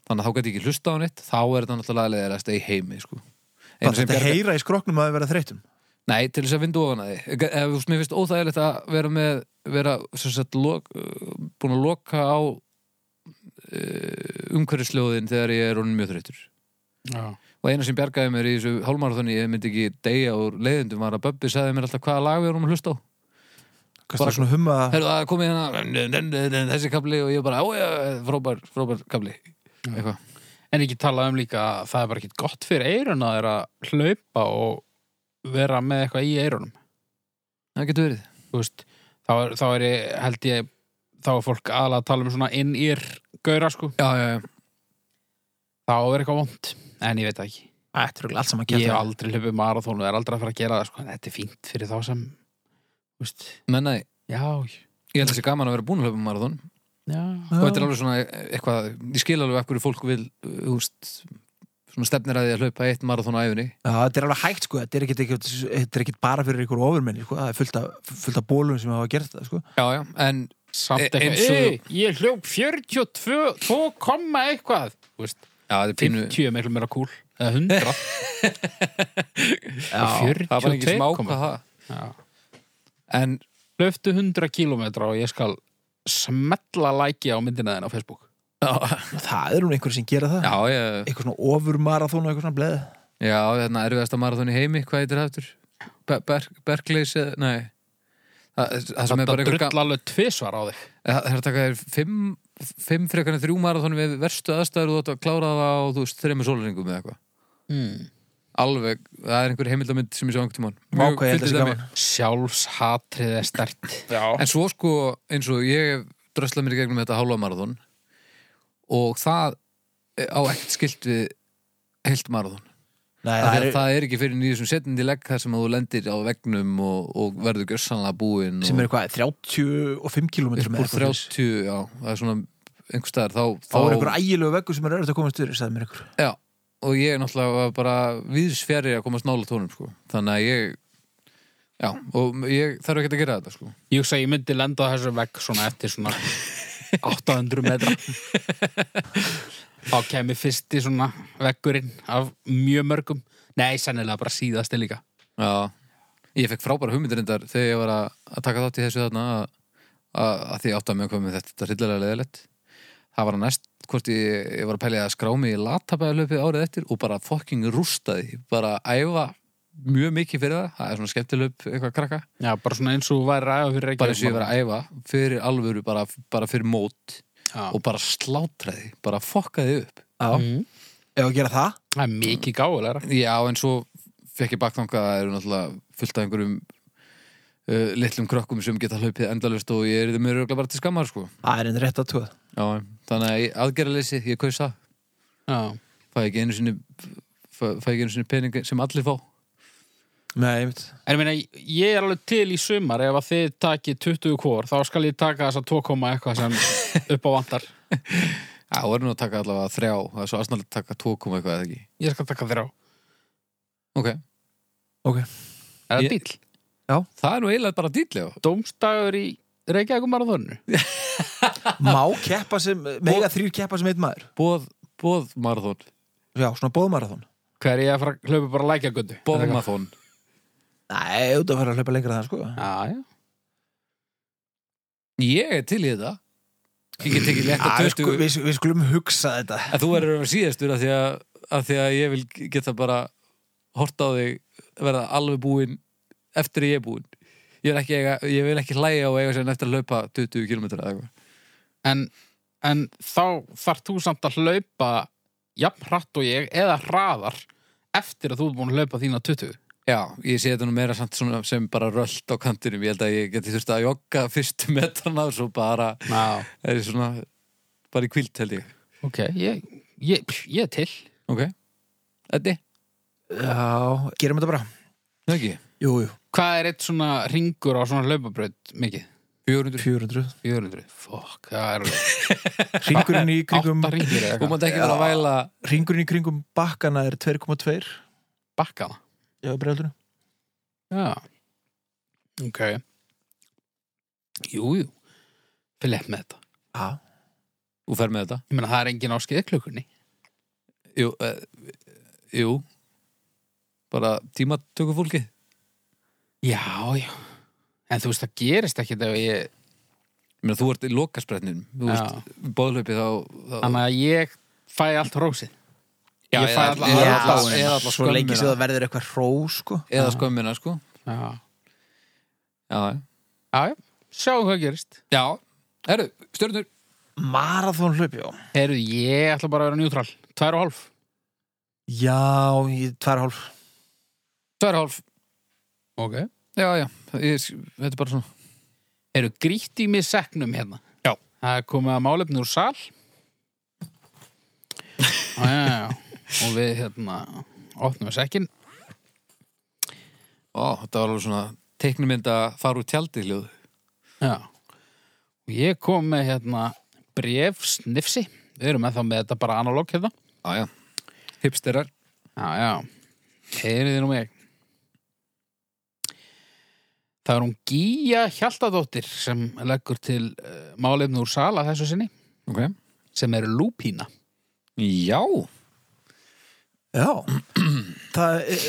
Speaker 3: þannig að þá get ég ekki hlusta á neitt þá er þetta náttúrulega leðilegast í heimi sko. Eina
Speaker 1: Það
Speaker 3: sem
Speaker 1: þetta
Speaker 3: bjargar-
Speaker 1: heyra í skroknum að þið verða þreytum
Speaker 3: Nei, til þess að vindu ofan að því Ef þú veist, mér finnst óþægilegt að vera með vera, sem sagt, lok, uh, búin að loka á uh, umhverfisljóðin þegar ég er honum mjög þreytur
Speaker 2: já.
Speaker 3: og eina sem bjargaði mér í þessu hálmarathoni ég myndi ekki deyja úr leiðindum var að Böbbi sagði mér alltaf hvaða lag við erum að hlusta á
Speaker 1: Kannski
Speaker 3: Bara-
Speaker 1: svona humma
Speaker 3: Herðu, það er komið hérna þessi kabli og ég bara, ója, frópar, frópar kabli eitthvað
Speaker 2: En ekki talað um líka að það er bara ekkert gott fyrir eirun að þeirra hlaupa og vera með eitthvað í eirunum
Speaker 3: Það getur verið
Speaker 2: Þú veist, þá er, þá er ég, held ég þá er fólk aðlega að tala um svona in-ear gauðra sko,
Speaker 3: Já, já, já,
Speaker 2: þá er eitthvað vond en ég veit það ekki,
Speaker 1: Þetta er örugglega allt saman
Speaker 2: ég hef
Speaker 1: kjæftar
Speaker 2: aldrei hlaupið marathónu, er aldrei að fara að gera það sko en þetta er fínt fyrir þá sem þú veist,
Speaker 3: mennaði
Speaker 2: já,
Speaker 3: Ég held að þessi gaman að vera búin að hlaupa um marathon
Speaker 2: já
Speaker 3: og þetta er alveg svona eitthvað ég skil alveg af hverju fólk vil uh, úst, svona stefnir að því að hlaupa eitt marathon á æfinni
Speaker 1: Já, þetta er alveg hægt sko, þetta er ekkit, ekkit, þetta er ekkit bara fyrir ykkur ofurmenni sko, það er fullt af, fullt af bólum sem hafa gert það sko.
Speaker 3: já, já, en
Speaker 2: Samt
Speaker 3: E-
Speaker 2: eitthvað,
Speaker 3: eins og-
Speaker 2: ei, ég hljóp 42, 2 komma eitthvað Þú veist,
Speaker 3: já, þetta er pínu
Speaker 2: 50 er miklu meira kúl eða 100
Speaker 3: [laughs] já, það var ekki
Speaker 2: 42
Speaker 3: smá
Speaker 2: koma.
Speaker 3: hvað það
Speaker 2: Já.
Speaker 3: en
Speaker 2: Hlauptu 100 kílómetra og ég skal smetla læki á myndina þenn á Facebook
Speaker 3: já,
Speaker 1: það er hún einhver sem gera það
Speaker 3: já, ég,
Speaker 1: eitthvað svona ofurmarathon og eitthvað svona bleð
Speaker 3: já þarna erfiðasta marathon í heimi hvað heitir það aftur? Be ber Berkleys, eða- nei það, það sem er
Speaker 2: Þetta
Speaker 3: bara eitthvað
Speaker 2: drull alveg tvisvar á þig
Speaker 3: Það er að taka þér fimm, fimm frekarinn þrjú marathon við verstu aðstæður og þú ætti að klára það á þú veist þreymur sólaringum eða eitthvað. Hmm.
Speaker 2: mm.
Speaker 3: Alveg, það er einhver heimildamind sem ég sá einhvern tímann.
Speaker 1: Vá, hvað ég held að
Speaker 3: fyndið
Speaker 1: sé
Speaker 3: dæmi.
Speaker 1: gaman.
Speaker 2: Sjálfshatrið er stert
Speaker 3: En svo sko, eins og ég dröslað mér í gegnum þetta hálfa marathon og það á ekkert skilt við heilt marathon.
Speaker 1: Nei,
Speaker 3: Það,
Speaker 1: það
Speaker 3: er,
Speaker 1: er,
Speaker 3: það er ekki fyrir nýjum setnandi legg þar sem að þú lendir á vegnum og, og verður gjörsanlega búinn.
Speaker 1: sem er
Speaker 3: og-
Speaker 1: eitthvað 35 km
Speaker 3: upp úr 30, já, það er svona einhver staðar, þá,
Speaker 1: þá er einhver ægilegu veggur sem er erfitt að komast yfir sagði mér einhver
Speaker 3: Já, og ég er náttúrulega var bara viðsfjari að komast nála tónum sko. þannig að ég já, og ég þarf ekki að gera þetta sko.
Speaker 2: Ég hugsa að ég myndi lenda á þessu vegg svona eftir svona 800 metra Þá kemur fyrsti svona veggurinn af mjög mörgum Nei, sennilega bara síðasti líka
Speaker 3: já, ég fekk frábæra hugmyndirindar þegar ég var að, að taka þátt í þessu þarna að, að, að því átt að mig komið þetta þetta er hryllilega leðilegt það var að næst hvort ég, ég var að pælja að skrá mig í latabæðalöfið árið eftir og bara fucking rústaði, bara æfa mjög mikið fyrir það, það er svona skemmtilöp eitthvað krakka
Speaker 2: Já, bara svona eins og þú væri ræða fyrir
Speaker 3: bara eins og ég var að æfa fyrir alvöru, bara, bara fyrir mót
Speaker 2: Já.
Speaker 3: og bara slátraði, bara fokkaði upp
Speaker 1: já,
Speaker 2: Mm.
Speaker 1: ef að gera það
Speaker 2: Það er mikið gáðulega
Speaker 3: Já, en svo fekk ég bakþanga að það eru náttúrulega fullt af einhverjum uh, litlum krökkum sem geta hlaupið endalust og ég er það mjög röglega bara til skammar sko.
Speaker 1: það er einn rétt að tóð
Speaker 3: Já, þannig að aðgerðaleysi, ég kaus það
Speaker 2: Já,
Speaker 3: fæ ekki einu sinni fæ, fæ ekki einu sinni pening sem allir fá
Speaker 1: Nei, ég veit
Speaker 2: En ég meina, ég er alveg til í sumar ef að þið takið 20 kvór þá skal ég taka þessa 2 koma eitthvað sem upp á vantar
Speaker 3: Já, það voru nú að taka allavega þrjá það er svo aðsnallega að taka tvo koma eitthvað eða ekki
Speaker 2: Ég skal taka þér á
Speaker 3: Ok,
Speaker 2: Er það
Speaker 3: Ég-
Speaker 2: dýll?
Speaker 3: það er nú eiginlega bara dýtlega
Speaker 2: Dómstagur í Reykjavík marathonu
Speaker 1: Má keppa sem, mega þrýr keppa sem einn maður
Speaker 3: Bóð, bóð marathón,
Speaker 1: Já, svona bóðmarathon
Speaker 2: Hver er ég að fara að hlaupa bara lækjagöndu?
Speaker 3: bóð marathón
Speaker 1: Nei, út að fara að hlaupa lengra en það sko
Speaker 2: Já, já
Speaker 3: Ég er til í þetta Ég get ekki lett
Speaker 1: Já,
Speaker 3: að
Speaker 1: við, sku,
Speaker 3: 20
Speaker 1: við, við skulum hugsa þetta
Speaker 3: En þú verður að vera síðastur af því að, af því að ég vil geta bara horta á þig verða alveg búinn eftir að ég er búinn. Ég vil ekki, eiga, ég vil ekki hlæja og eiga sér eftir að laupa 20 km eða eitthvað.
Speaker 2: en, en þá þarf þú samt að hlaupa jafn hratt og ég eða hraðar eftir að þú er búin að hlaupa þína 20
Speaker 3: Já, ég sé þetta nú meira samt svona sem bara rölt á kantinum. Ég held að ég geti þurft að jogga fyrstu metrana og svo bara
Speaker 2: Já,
Speaker 3: er ég svona bara í kvíld held ég.
Speaker 2: ok, ég, ég, pff, ég er til
Speaker 3: Ok? Eddi?
Speaker 1: Já, gerum þetta bara
Speaker 3: Nei ekki?
Speaker 1: Jú, jú,
Speaker 2: Hvað er eitt svona ringur á svona hlaupabraut mikið?
Speaker 3: 400.
Speaker 1: 400
Speaker 2: 400, fokk, það er alveg
Speaker 1: Ringurinn í kringum
Speaker 2: átta ringir eða
Speaker 3: Þú
Speaker 2: eitthvað
Speaker 3: mátt ekki vera að væla
Speaker 1: Ringurinn í kringum bakkana er 2,2 Já,
Speaker 2: bakka það
Speaker 1: breyldunum
Speaker 2: Já, ok Jú, jú Fylgð með þetta
Speaker 1: Já,
Speaker 3: Þú fer með þetta.
Speaker 2: Ég meina það er engin á skeiðklukkunni
Speaker 3: Jú, uh, jú. Bara tímatöku fólkið.
Speaker 2: Já, já En þú veist, það gerist ekkert ef ég
Speaker 3: Ég meina, þú ert í lokaspretninum, þú
Speaker 2: Já.
Speaker 3: veist, bóðlaupi þá, þá
Speaker 2: Þannig að ég fæ allt rósið
Speaker 3: Já,
Speaker 2: Ég fæ
Speaker 3: eða-
Speaker 2: alla-
Speaker 3: eða-
Speaker 2: alla
Speaker 3: alla-
Speaker 2: dáin.
Speaker 3: eða alla
Speaker 1: Svo lengi
Speaker 3: skömmina.
Speaker 1: sem það verður eitthvað hró sko.
Speaker 3: eða skömmina, sko.
Speaker 2: Já,
Speaker 3: Já, já.
Speaker 2: já, já. sjáum hvað gerist
Speaker 3: já. Herru, stjörnur.
Speaker 1: Marathon hlaup, já
Speaker 2: Heyrðu, ég ætla bara að vera njútrál Tvær og hálf
Speaker 1: Já, ég, tvær og hálf
Speaker 3: Tvær hálf.
Speaker 2: Ok
Speaker 3: Já, já. Ég, þetta er bara svona.
Speaker 2: Heyrðu, grýtt í mig seknum hérna
Speaker 3: Já.
Speaker 2: Það er komið að málefni úr [laughs] sal Já, já, já Og við hérna Opnum við sekkin
Speaker 3: Ó, þetta var alveg svona teiknumynd að fara úr tjaldi hljóð.
Speaker 2: Já Og ég kom með hérna Bref snifsi Við erum ennþá með þetta bara analóg hérna
Speaker 3: Já, já. hipsterar
Speaker 2: Já, já. Heyrið nú mig. Það er hún Gíja Hjaltadóttir sem leggur til uh, málefni úr sala þessu sinni,
Speaker 3: okay.
Speaker 2: sem er lúpína.
Speaker 3: Já,
Speaker 1: Já, það er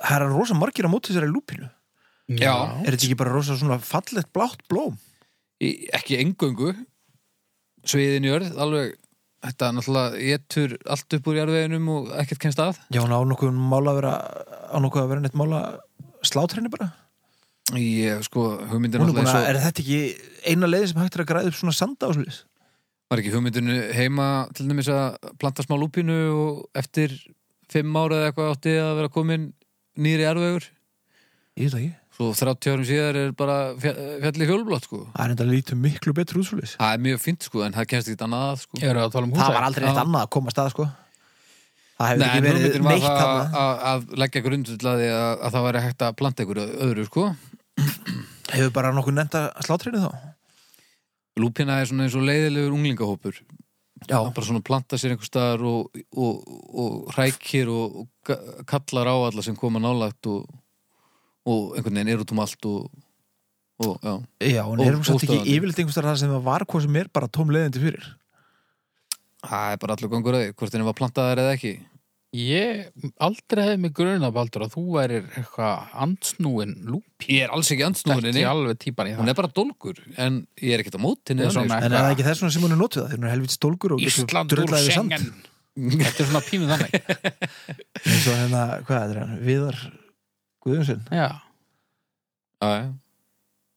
Speaker 1: það er rosa margir á móti þessari lúpinu
Speaker 3: Já.
Speaker 1: er þetta ekki bara rosa svona fallegt blátt blóm
Speaker 3: í, ekki engöngu Sviðin jörð, alveg Þetta náttúrulega getur allt upp úr jarðveginum og ekkert kemst að
Speaker 1: Já, hún á nokkuð mála að vera á nokkuð að vera neitt mála slátrinni bara
Speaker 3: Ég, sko, hugmyndin
Speaker 1: Hún er
Speaker 3: náttúrulega
Speaker 1: búin
Speaker 3: eins
Speaker 1: að,
Speaker 3: og
Speaker 1: er þetta ekki eina leiðin sem hægt er að græða upp svona sanda áslis?
Speaker 3: Var ekki hugmyndinu heima til dæmis að planta smá lúpínu og eftir fimm ára eða eitthvað átti að vera komin nýri jarðvegur
Speaker 1: Ég veit það ekki
Speaker 3: Svo 30 árum síðar er bara fjall- fjallið fjólblótt sko
Speaker 1: Það er enda lítið miklu betur útsvolis
Speaker 3: Það er mjög fínt sko, en það kemst ekkert annað að sko
Speaker 2: Eru að tala um
Speaker 1: Það
Speaker 2: húsæk?
Speaker 1: var aldrei neitt annað að komast að sko Það hefur
Speaker 3: Nei, en
Speaker 1: ekki verið
Speaker 3: hugmyndin var
Speaker 1: neitt
Speaker 3: það
Speaker 1: þarna
Speaker 3: að, að leggja grundullaði að, að það væri hægt að planta ykkur öðru sko
Speaker 1: Hefur bara nokkuð nefnt að slátrinni þá?
Speaker 3: Lúpina er svona eins og leiðilegur unglingahópur
Speaker 1: Já,
Speaker 3: Það bara svona planta sér einhver staðar og, og, og hrækir og, og ga- kallar á alla sem koma nálægt og, og einhvern veginn er út um allt og, og já
Speaker 1: já en
Speaker 3: Ó-
Speaker 1: erum samt ekki
Speaker 3: óstöðvandi.
Speaker 1: yfirleitt einhverstað það sem það var hvað sem er bara tóm leiðindi fyrir
Speaker 3: Það er bara allur gangur að því, hvort henni var plantaðar eða ekki
Speaker 2: Ég aldrei hefði mig grunna, Baldur, að þú værir eitthvað andsnúin lúpína.
Speaker 3: Ég er alls ekki andsnúðinni,
Speaker 2: Ekki alveg típan í
Speaker 3: hún
Speaker 2: það.
Speaker 3: er bara dólgur en ég er ekkert á mótinni
Speaker 2: Ég er svona-
Speaker 1: En er það ekki þess vegna sem hún er notið það? Þegar hún er helvits stólkur og getur
Speaker 2: Ísland úr
Speaker 1: drullað yfir sand.
Speaker 2: sengen. Þetta er svona pínu þannig.
Speaker 1: eins og hérna, hvað er það, Viðar Guðjónsson
Speaker 2: Já.
Speaker 3: Já,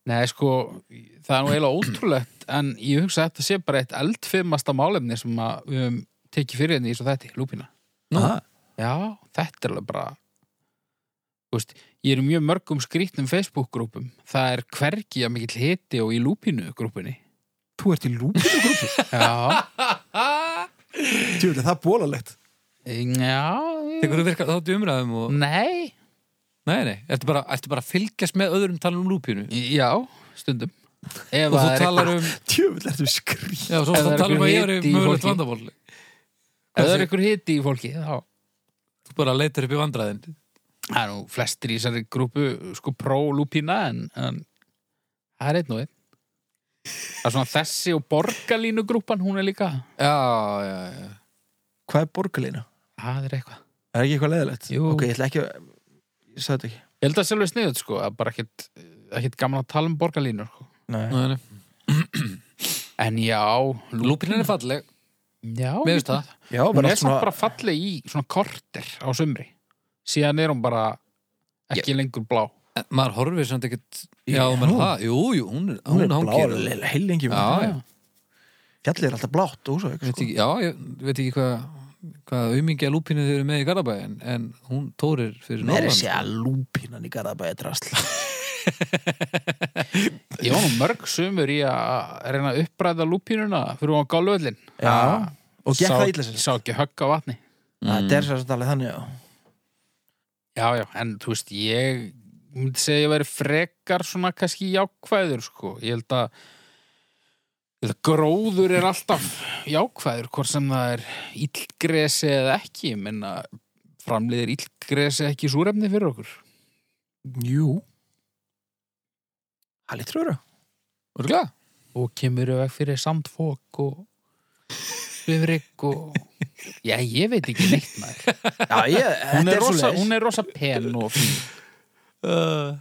Speaker 2: Nei, sko, það er nú eiginlega ótrúlegt en ég hugsa að þetta sé bara eitt eldfimasta málefni sem að við höfum tekið fyrir henni í svo þetta, lúpina.
Speaker 3: Nú.
Speaker 1: Aha.
Speaker 2: Já, þetta er alveg bara Þú veist, ég er í mjög mörgum skrýtnum Facebook-grúpum það er hvergi að mikill hiti og í lúpinu-grúpunni
Speaker 1: Þú ert í lúpinu grúfi [laughs]
Speaker 2: Já,
Speaker 1: Tjóðlega, það er bólalegt
Speaker 2: já
Speaker 3: Tekur þú virkað þátt í umræðum og...
Speaker 2: Mm. Nei,
Speaker 3: Nei, nei, ertu bara, ertu bara að fylgjast með öðrum tala um lúpínu
Speaker 2: já, stundum Ef
Speaker 3: Og
Speaker 2: það
Speaker 3: þú
Speaker 2: er
Speaker 3: talar
Speaker 2: eitthvað-
Speaker 3: um
Speaker 1: Tjóðlega, ertu skrý
Speaker 3: Já, svo
Speaker 2: Ef það
Speaker 3: þú
Speaker 2: er
Speaker 3: talar um
Speaker 2: einhver
Speaker 3: að ég er
Speaker 2: hiti í
Speaker 3: mögulegt
Speaker 2: fólki.
Speaker 3: vandamál Þú
Speaker 2: ef það er einhver hiti í fólki þá
Speaker 3: bara leitar upp í vandræðin
Speaker 2: það er nú flestir í þessari grúpu sko pró-lúpina en, en það er einn og einn Það er svona þessi og borgarlínugrúpan hún er líka
Speaker 3: Já, já, já
Speaker 1: Hvað er borgarlína?
Speaker 2: Það er eitthvað
Speaker 1: Er ekki eitthvað leiðilegt?
Speaker 2: Jú.
Speaker 1: Ok, ég ætla ekki að Ég sagði þetta ekki
Speaker 2: Ég held að sjálfur sniðut sko, að bara ekkit, ekkit gaman að tala um borgarlínur sko.
Speaker 1: Nei.
Speaker 3: Nei, nei.
Speaker 2: En já, lú,
Speaker 3: Lúpínan er falleg,
Speaker 2: já
Speaker 3: mér finnst það
Speaker 1: Já,
Speaker 2: Hún
Speaker 1: bara
Speaker 2: er
Speaker 1: allt
Speaker 2: svona...
Speaker 1: svona
Speaker 2: bara falleg í svona korter á sumri Síðan er hún bara ekki lengur blá
Speaker 3: En Eh, Maður horfir samt ekkert Já,
Speaker 1: Já.
Speaker 3: menn það, jú, jú, hún, er- hún,
Speaker 1: Hún
Speaker 3: hún
Speaker 1: er
Speaker 3: hangir og-
Speaker 1: blá, heilengi
Speaker 3: Já, já,
Speaker 1: Fjallið er alltaf blátt og sko. svo
Speaker 3: Ég veit
Speaker 1: ekki
Speaker 3: ekki, já, ég veit ekki hvað hvað umingja lúpínu þau eru með í Garabæ en, en hún tórir fyrir
Speaker 1: Mér er
Speaker 3: norðan
Speaker 1: sé að lúpinan í Garðabæði drasl
Speaker 2: Ég var nú mörg sumur í að reyna að uppræða lúpínuna fyrir hún á gálvöllin
Speaker 1: Já, og gekk það illa sér
Speaker 2: Sá ekki högg á vatni
Speaker 3: Mm.
Speaker 1: Það er sér alveg þannig, já
Speaker 2: Já, já, en þú veist, ég myndi segja að ég væri frekar svona kannski jákvæður, sko. Ég held að, ég held að gróður er alltaf jákvæður, hvort sem það er illgresi eða ekki, ég menna framleiðir illgresi ekki súrefni fyrir okkur.
Speaker 1: Jú Það lítur að vera
Speaker 3: Örgla?
Speaker 2: Og kemur við veg fyrir sandfók og bifrygg og... Já, ég veit ekki neitt
Speaker 1: [laughs]
Speaker 2: maður.
Speaker 1: Já, ég,
Speaker 3: [laughs]
Speaker 2: Hún
Speaker 1: þetta
Speaker 2: er, rosa,
Speaker 1: svoleiðis.
Speaker 2: hún er rosa pen og fín.
Speaker 3: Uh,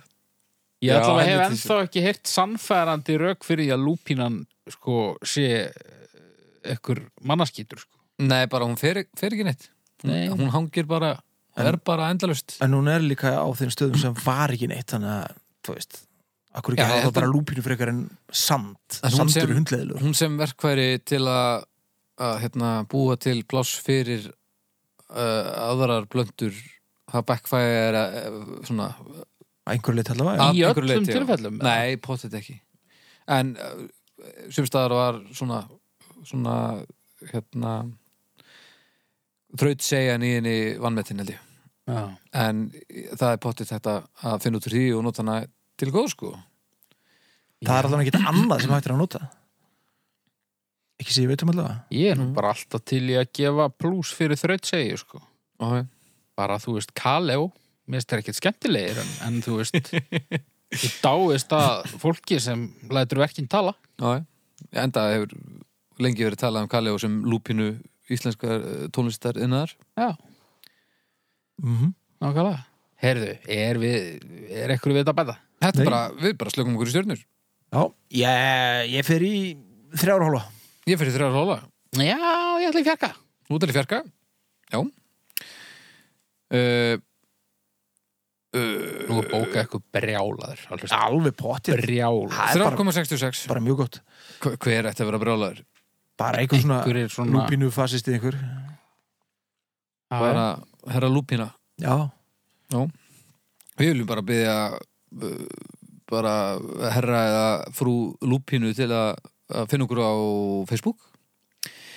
Speaker 2: Ég
Speaker 3: Já,
Speaker 2: ætla að hef
Speaker 3: helviti
Speaker 2: ennþá ekki heyrt sannfærandi rauk fyrir því að lúpínan sko sé eh, ekkur mannaskýtur sko.
Speaker 3: nei, bara hún fer, fer ekki neitt hún,
Speaker 2: Nei.
Speaker 3: hún hangir bara,
Speaker 1: En-
Speaker 3: er bara endalust
Speaker 1: En hún er líka á þeim stöðum sem var ekki neitt þannig að, þú veist Akkur ekki
Speaker 3: Já,
Speaker 1: að hafa
Speaker 3: ég
Speaker 1: það
Speaker 3: held
Speaker 1: bara lúpínu frekar en sand
Speaker 3: En hún
Speaker 1: Sandur
Speaker 3: sem-
Speaker 1: er hundleðilur
Speaker 3: hún sem verkfæri til að, að hérna, búa til pláss fyrir uh, aðrar blöndur það backfæri er að, eh, svona,
Speaker 1: Einhver leitt allavega
Speaker 2: Að-
Speaker 1: já.
Speaker 2: Í
Speaker 3: einhverju
Speaker 2: öllum
Speaker 3: leyti, já.
Speaker 2: tilfellum, eða?
Speaker 3: nei, pottet ekki en uh, sumstaðar var svona svona hérna þraut segja nýjinni vannmetin held ég
Speaker 2: Já.
Speaker 3: en það er pottet þetta að finna út úr því og nota hana til góð sko
Speaker 1: Það er allavega ekkert annað sem hægt er að nota Ekki sé ég veit um allavega
Speaker 2: Ég
Speaker 3: Mhm.
Speaker 2: er nú bara alltaf til í að gefa plús fyrir þraut segju, sko.
Speaker 3: okay.
Speaker 2: Bara, þú veist, Kaleo, mér finnst það ekkert skemmtilegir, en, en þú veist,
Speaker 3: [laughs]
Speaker 2: ég dáist að fólki sem lætur verkinn tala.
Speaker 3: Já, já. enda hefur lengi verið talað um Kaleo sem lúpinu íslenskar eh, tónlistar innar
Speaker 2: Já,
Speaker 1: mm -hmm.
Speaker 2: nákvæmlega. Herðu, er við, er ekkur við þetta að bæta?
Speaker 3: Þetta
Speaker 1: Nei.
Speaker 3: er bara, við bara slökum okkur í stjörnur
Speaker 1: Já, ég, ég fer í þrjára hóla
Speaker 3: Ég fyrir þrjá róla,
Speaker 2: Já, ég ætla í fjarka.
Speaker 3: út alveg fjarka Já uh,
Speaker 2: Nú er bókað eitthvað brjálaður, alveg stund.
Speaker 1: Alveg pottir
Speaker 2: Brjálaður.
Speaker 1: Það er bara,
Speaker 3: 3,66
Speaker 1: bara mjög gott
Speaker 3: Hver- Hver ætti að vera brálaður?
Speaker 1: Bara einhver svona
Speaker 2: Einhver er svona...
Speaker 1: lúpínu fasist í einhver
Speaker 2: Já, já.
Speaker 3: Bara herra lúpina
Speaker 1: Já,
Speaker 3: Við viljum bara byggja bara herra eða frú lúpinu til að, að finna okkur á Facebook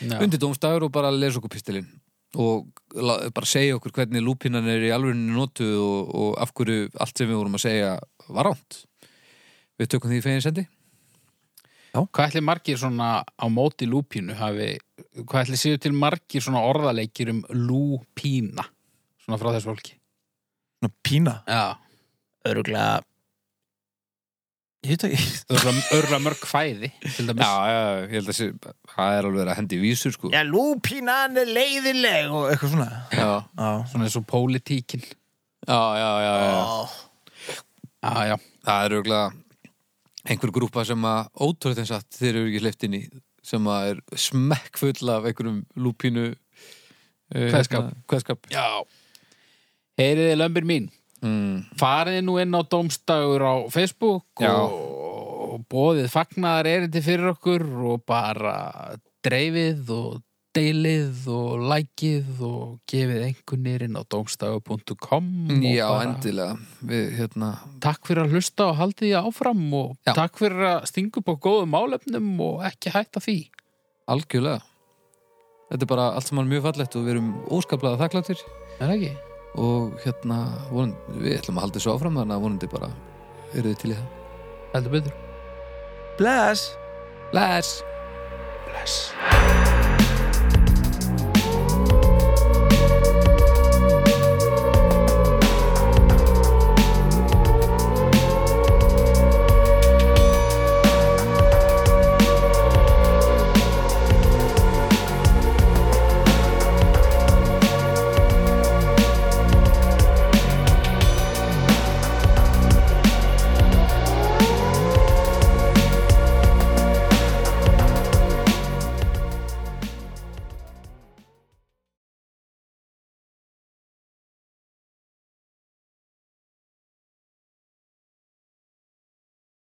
Speaker 2: Já.
Speaker 3: undir dómstagur og bara lesa okkur pistilinn og la- bara segja okkur hvernig lúpinan er í alvegurinu notu og, og af hverju allt sem við vorum að segja var ánt við tökum því í feginsendi
Speaker 2: Hvað ætli margir svona á móti lúpínu hafi, hvað ætli séu til margir svona orðaleikir um lúpína, svona frá þessu fólki?
Speaker 1: svona pína
Speaker 2: Já,
Speaker 1: Öruglega Ég veit ekki
Speaker 2: örla, örla mörg fæði, til dæmis.
Speaker 3: já, ég held að sé, það er alveg að hendi í vísur sko
Speaker 1: Já, lúpínan er leiðileg og eitthvað svona
Speaker 2: já.
Speaker 1: Já,
Speaker 2: Svona eins og pólitíkin.
Speaker 3: já, já, já,
Speaker 2: Já, já,
Speaker 3: það er auðvitað einhver grúpa sem að ótrúð þess að þeir eru ekki hleypt inn í sem að er smekkfull af einhverjum lúpínu eh,
Speaker 2: Kveðskap.
Speaker 3: hérna, kveðskap.
Speaker 2: já. Heyriði lömbir mín,
Speaker 3: Mm.
Speaker 2: farið nú inn á Dómstagur á Facebook
Speaker 3: Já.
Speaker 2: og bóðið fagnaðar erindi fyrir okkur og bara dreifið og deilið og lækið og gefið einhvernir inn á domstagu.com og
Speaker 3: já,
Speaker 2: bara
Speaker 3: endilega við hérna
Speaker 2: takk fyrir að hlusta og haldið því áfram og
Speaker 3: Já.
Speaker 2: takk fyrir að stinga upp á góðum álefnum og ekki hætta því
Speaker 3: Algjörlega Þetta er bara allt saman mjög fallegt og við erum óskaplega þakkláttir
Speaker 2: er það ekki?
Speaker 3: og hérna, von, við ætlum að halda þessu áfram þannig að vonandi bara eru þið til í það
Speaker 2: heldur betur
Speaker 1: Bless
Speaker 3: Bless!
Speaker 2: bless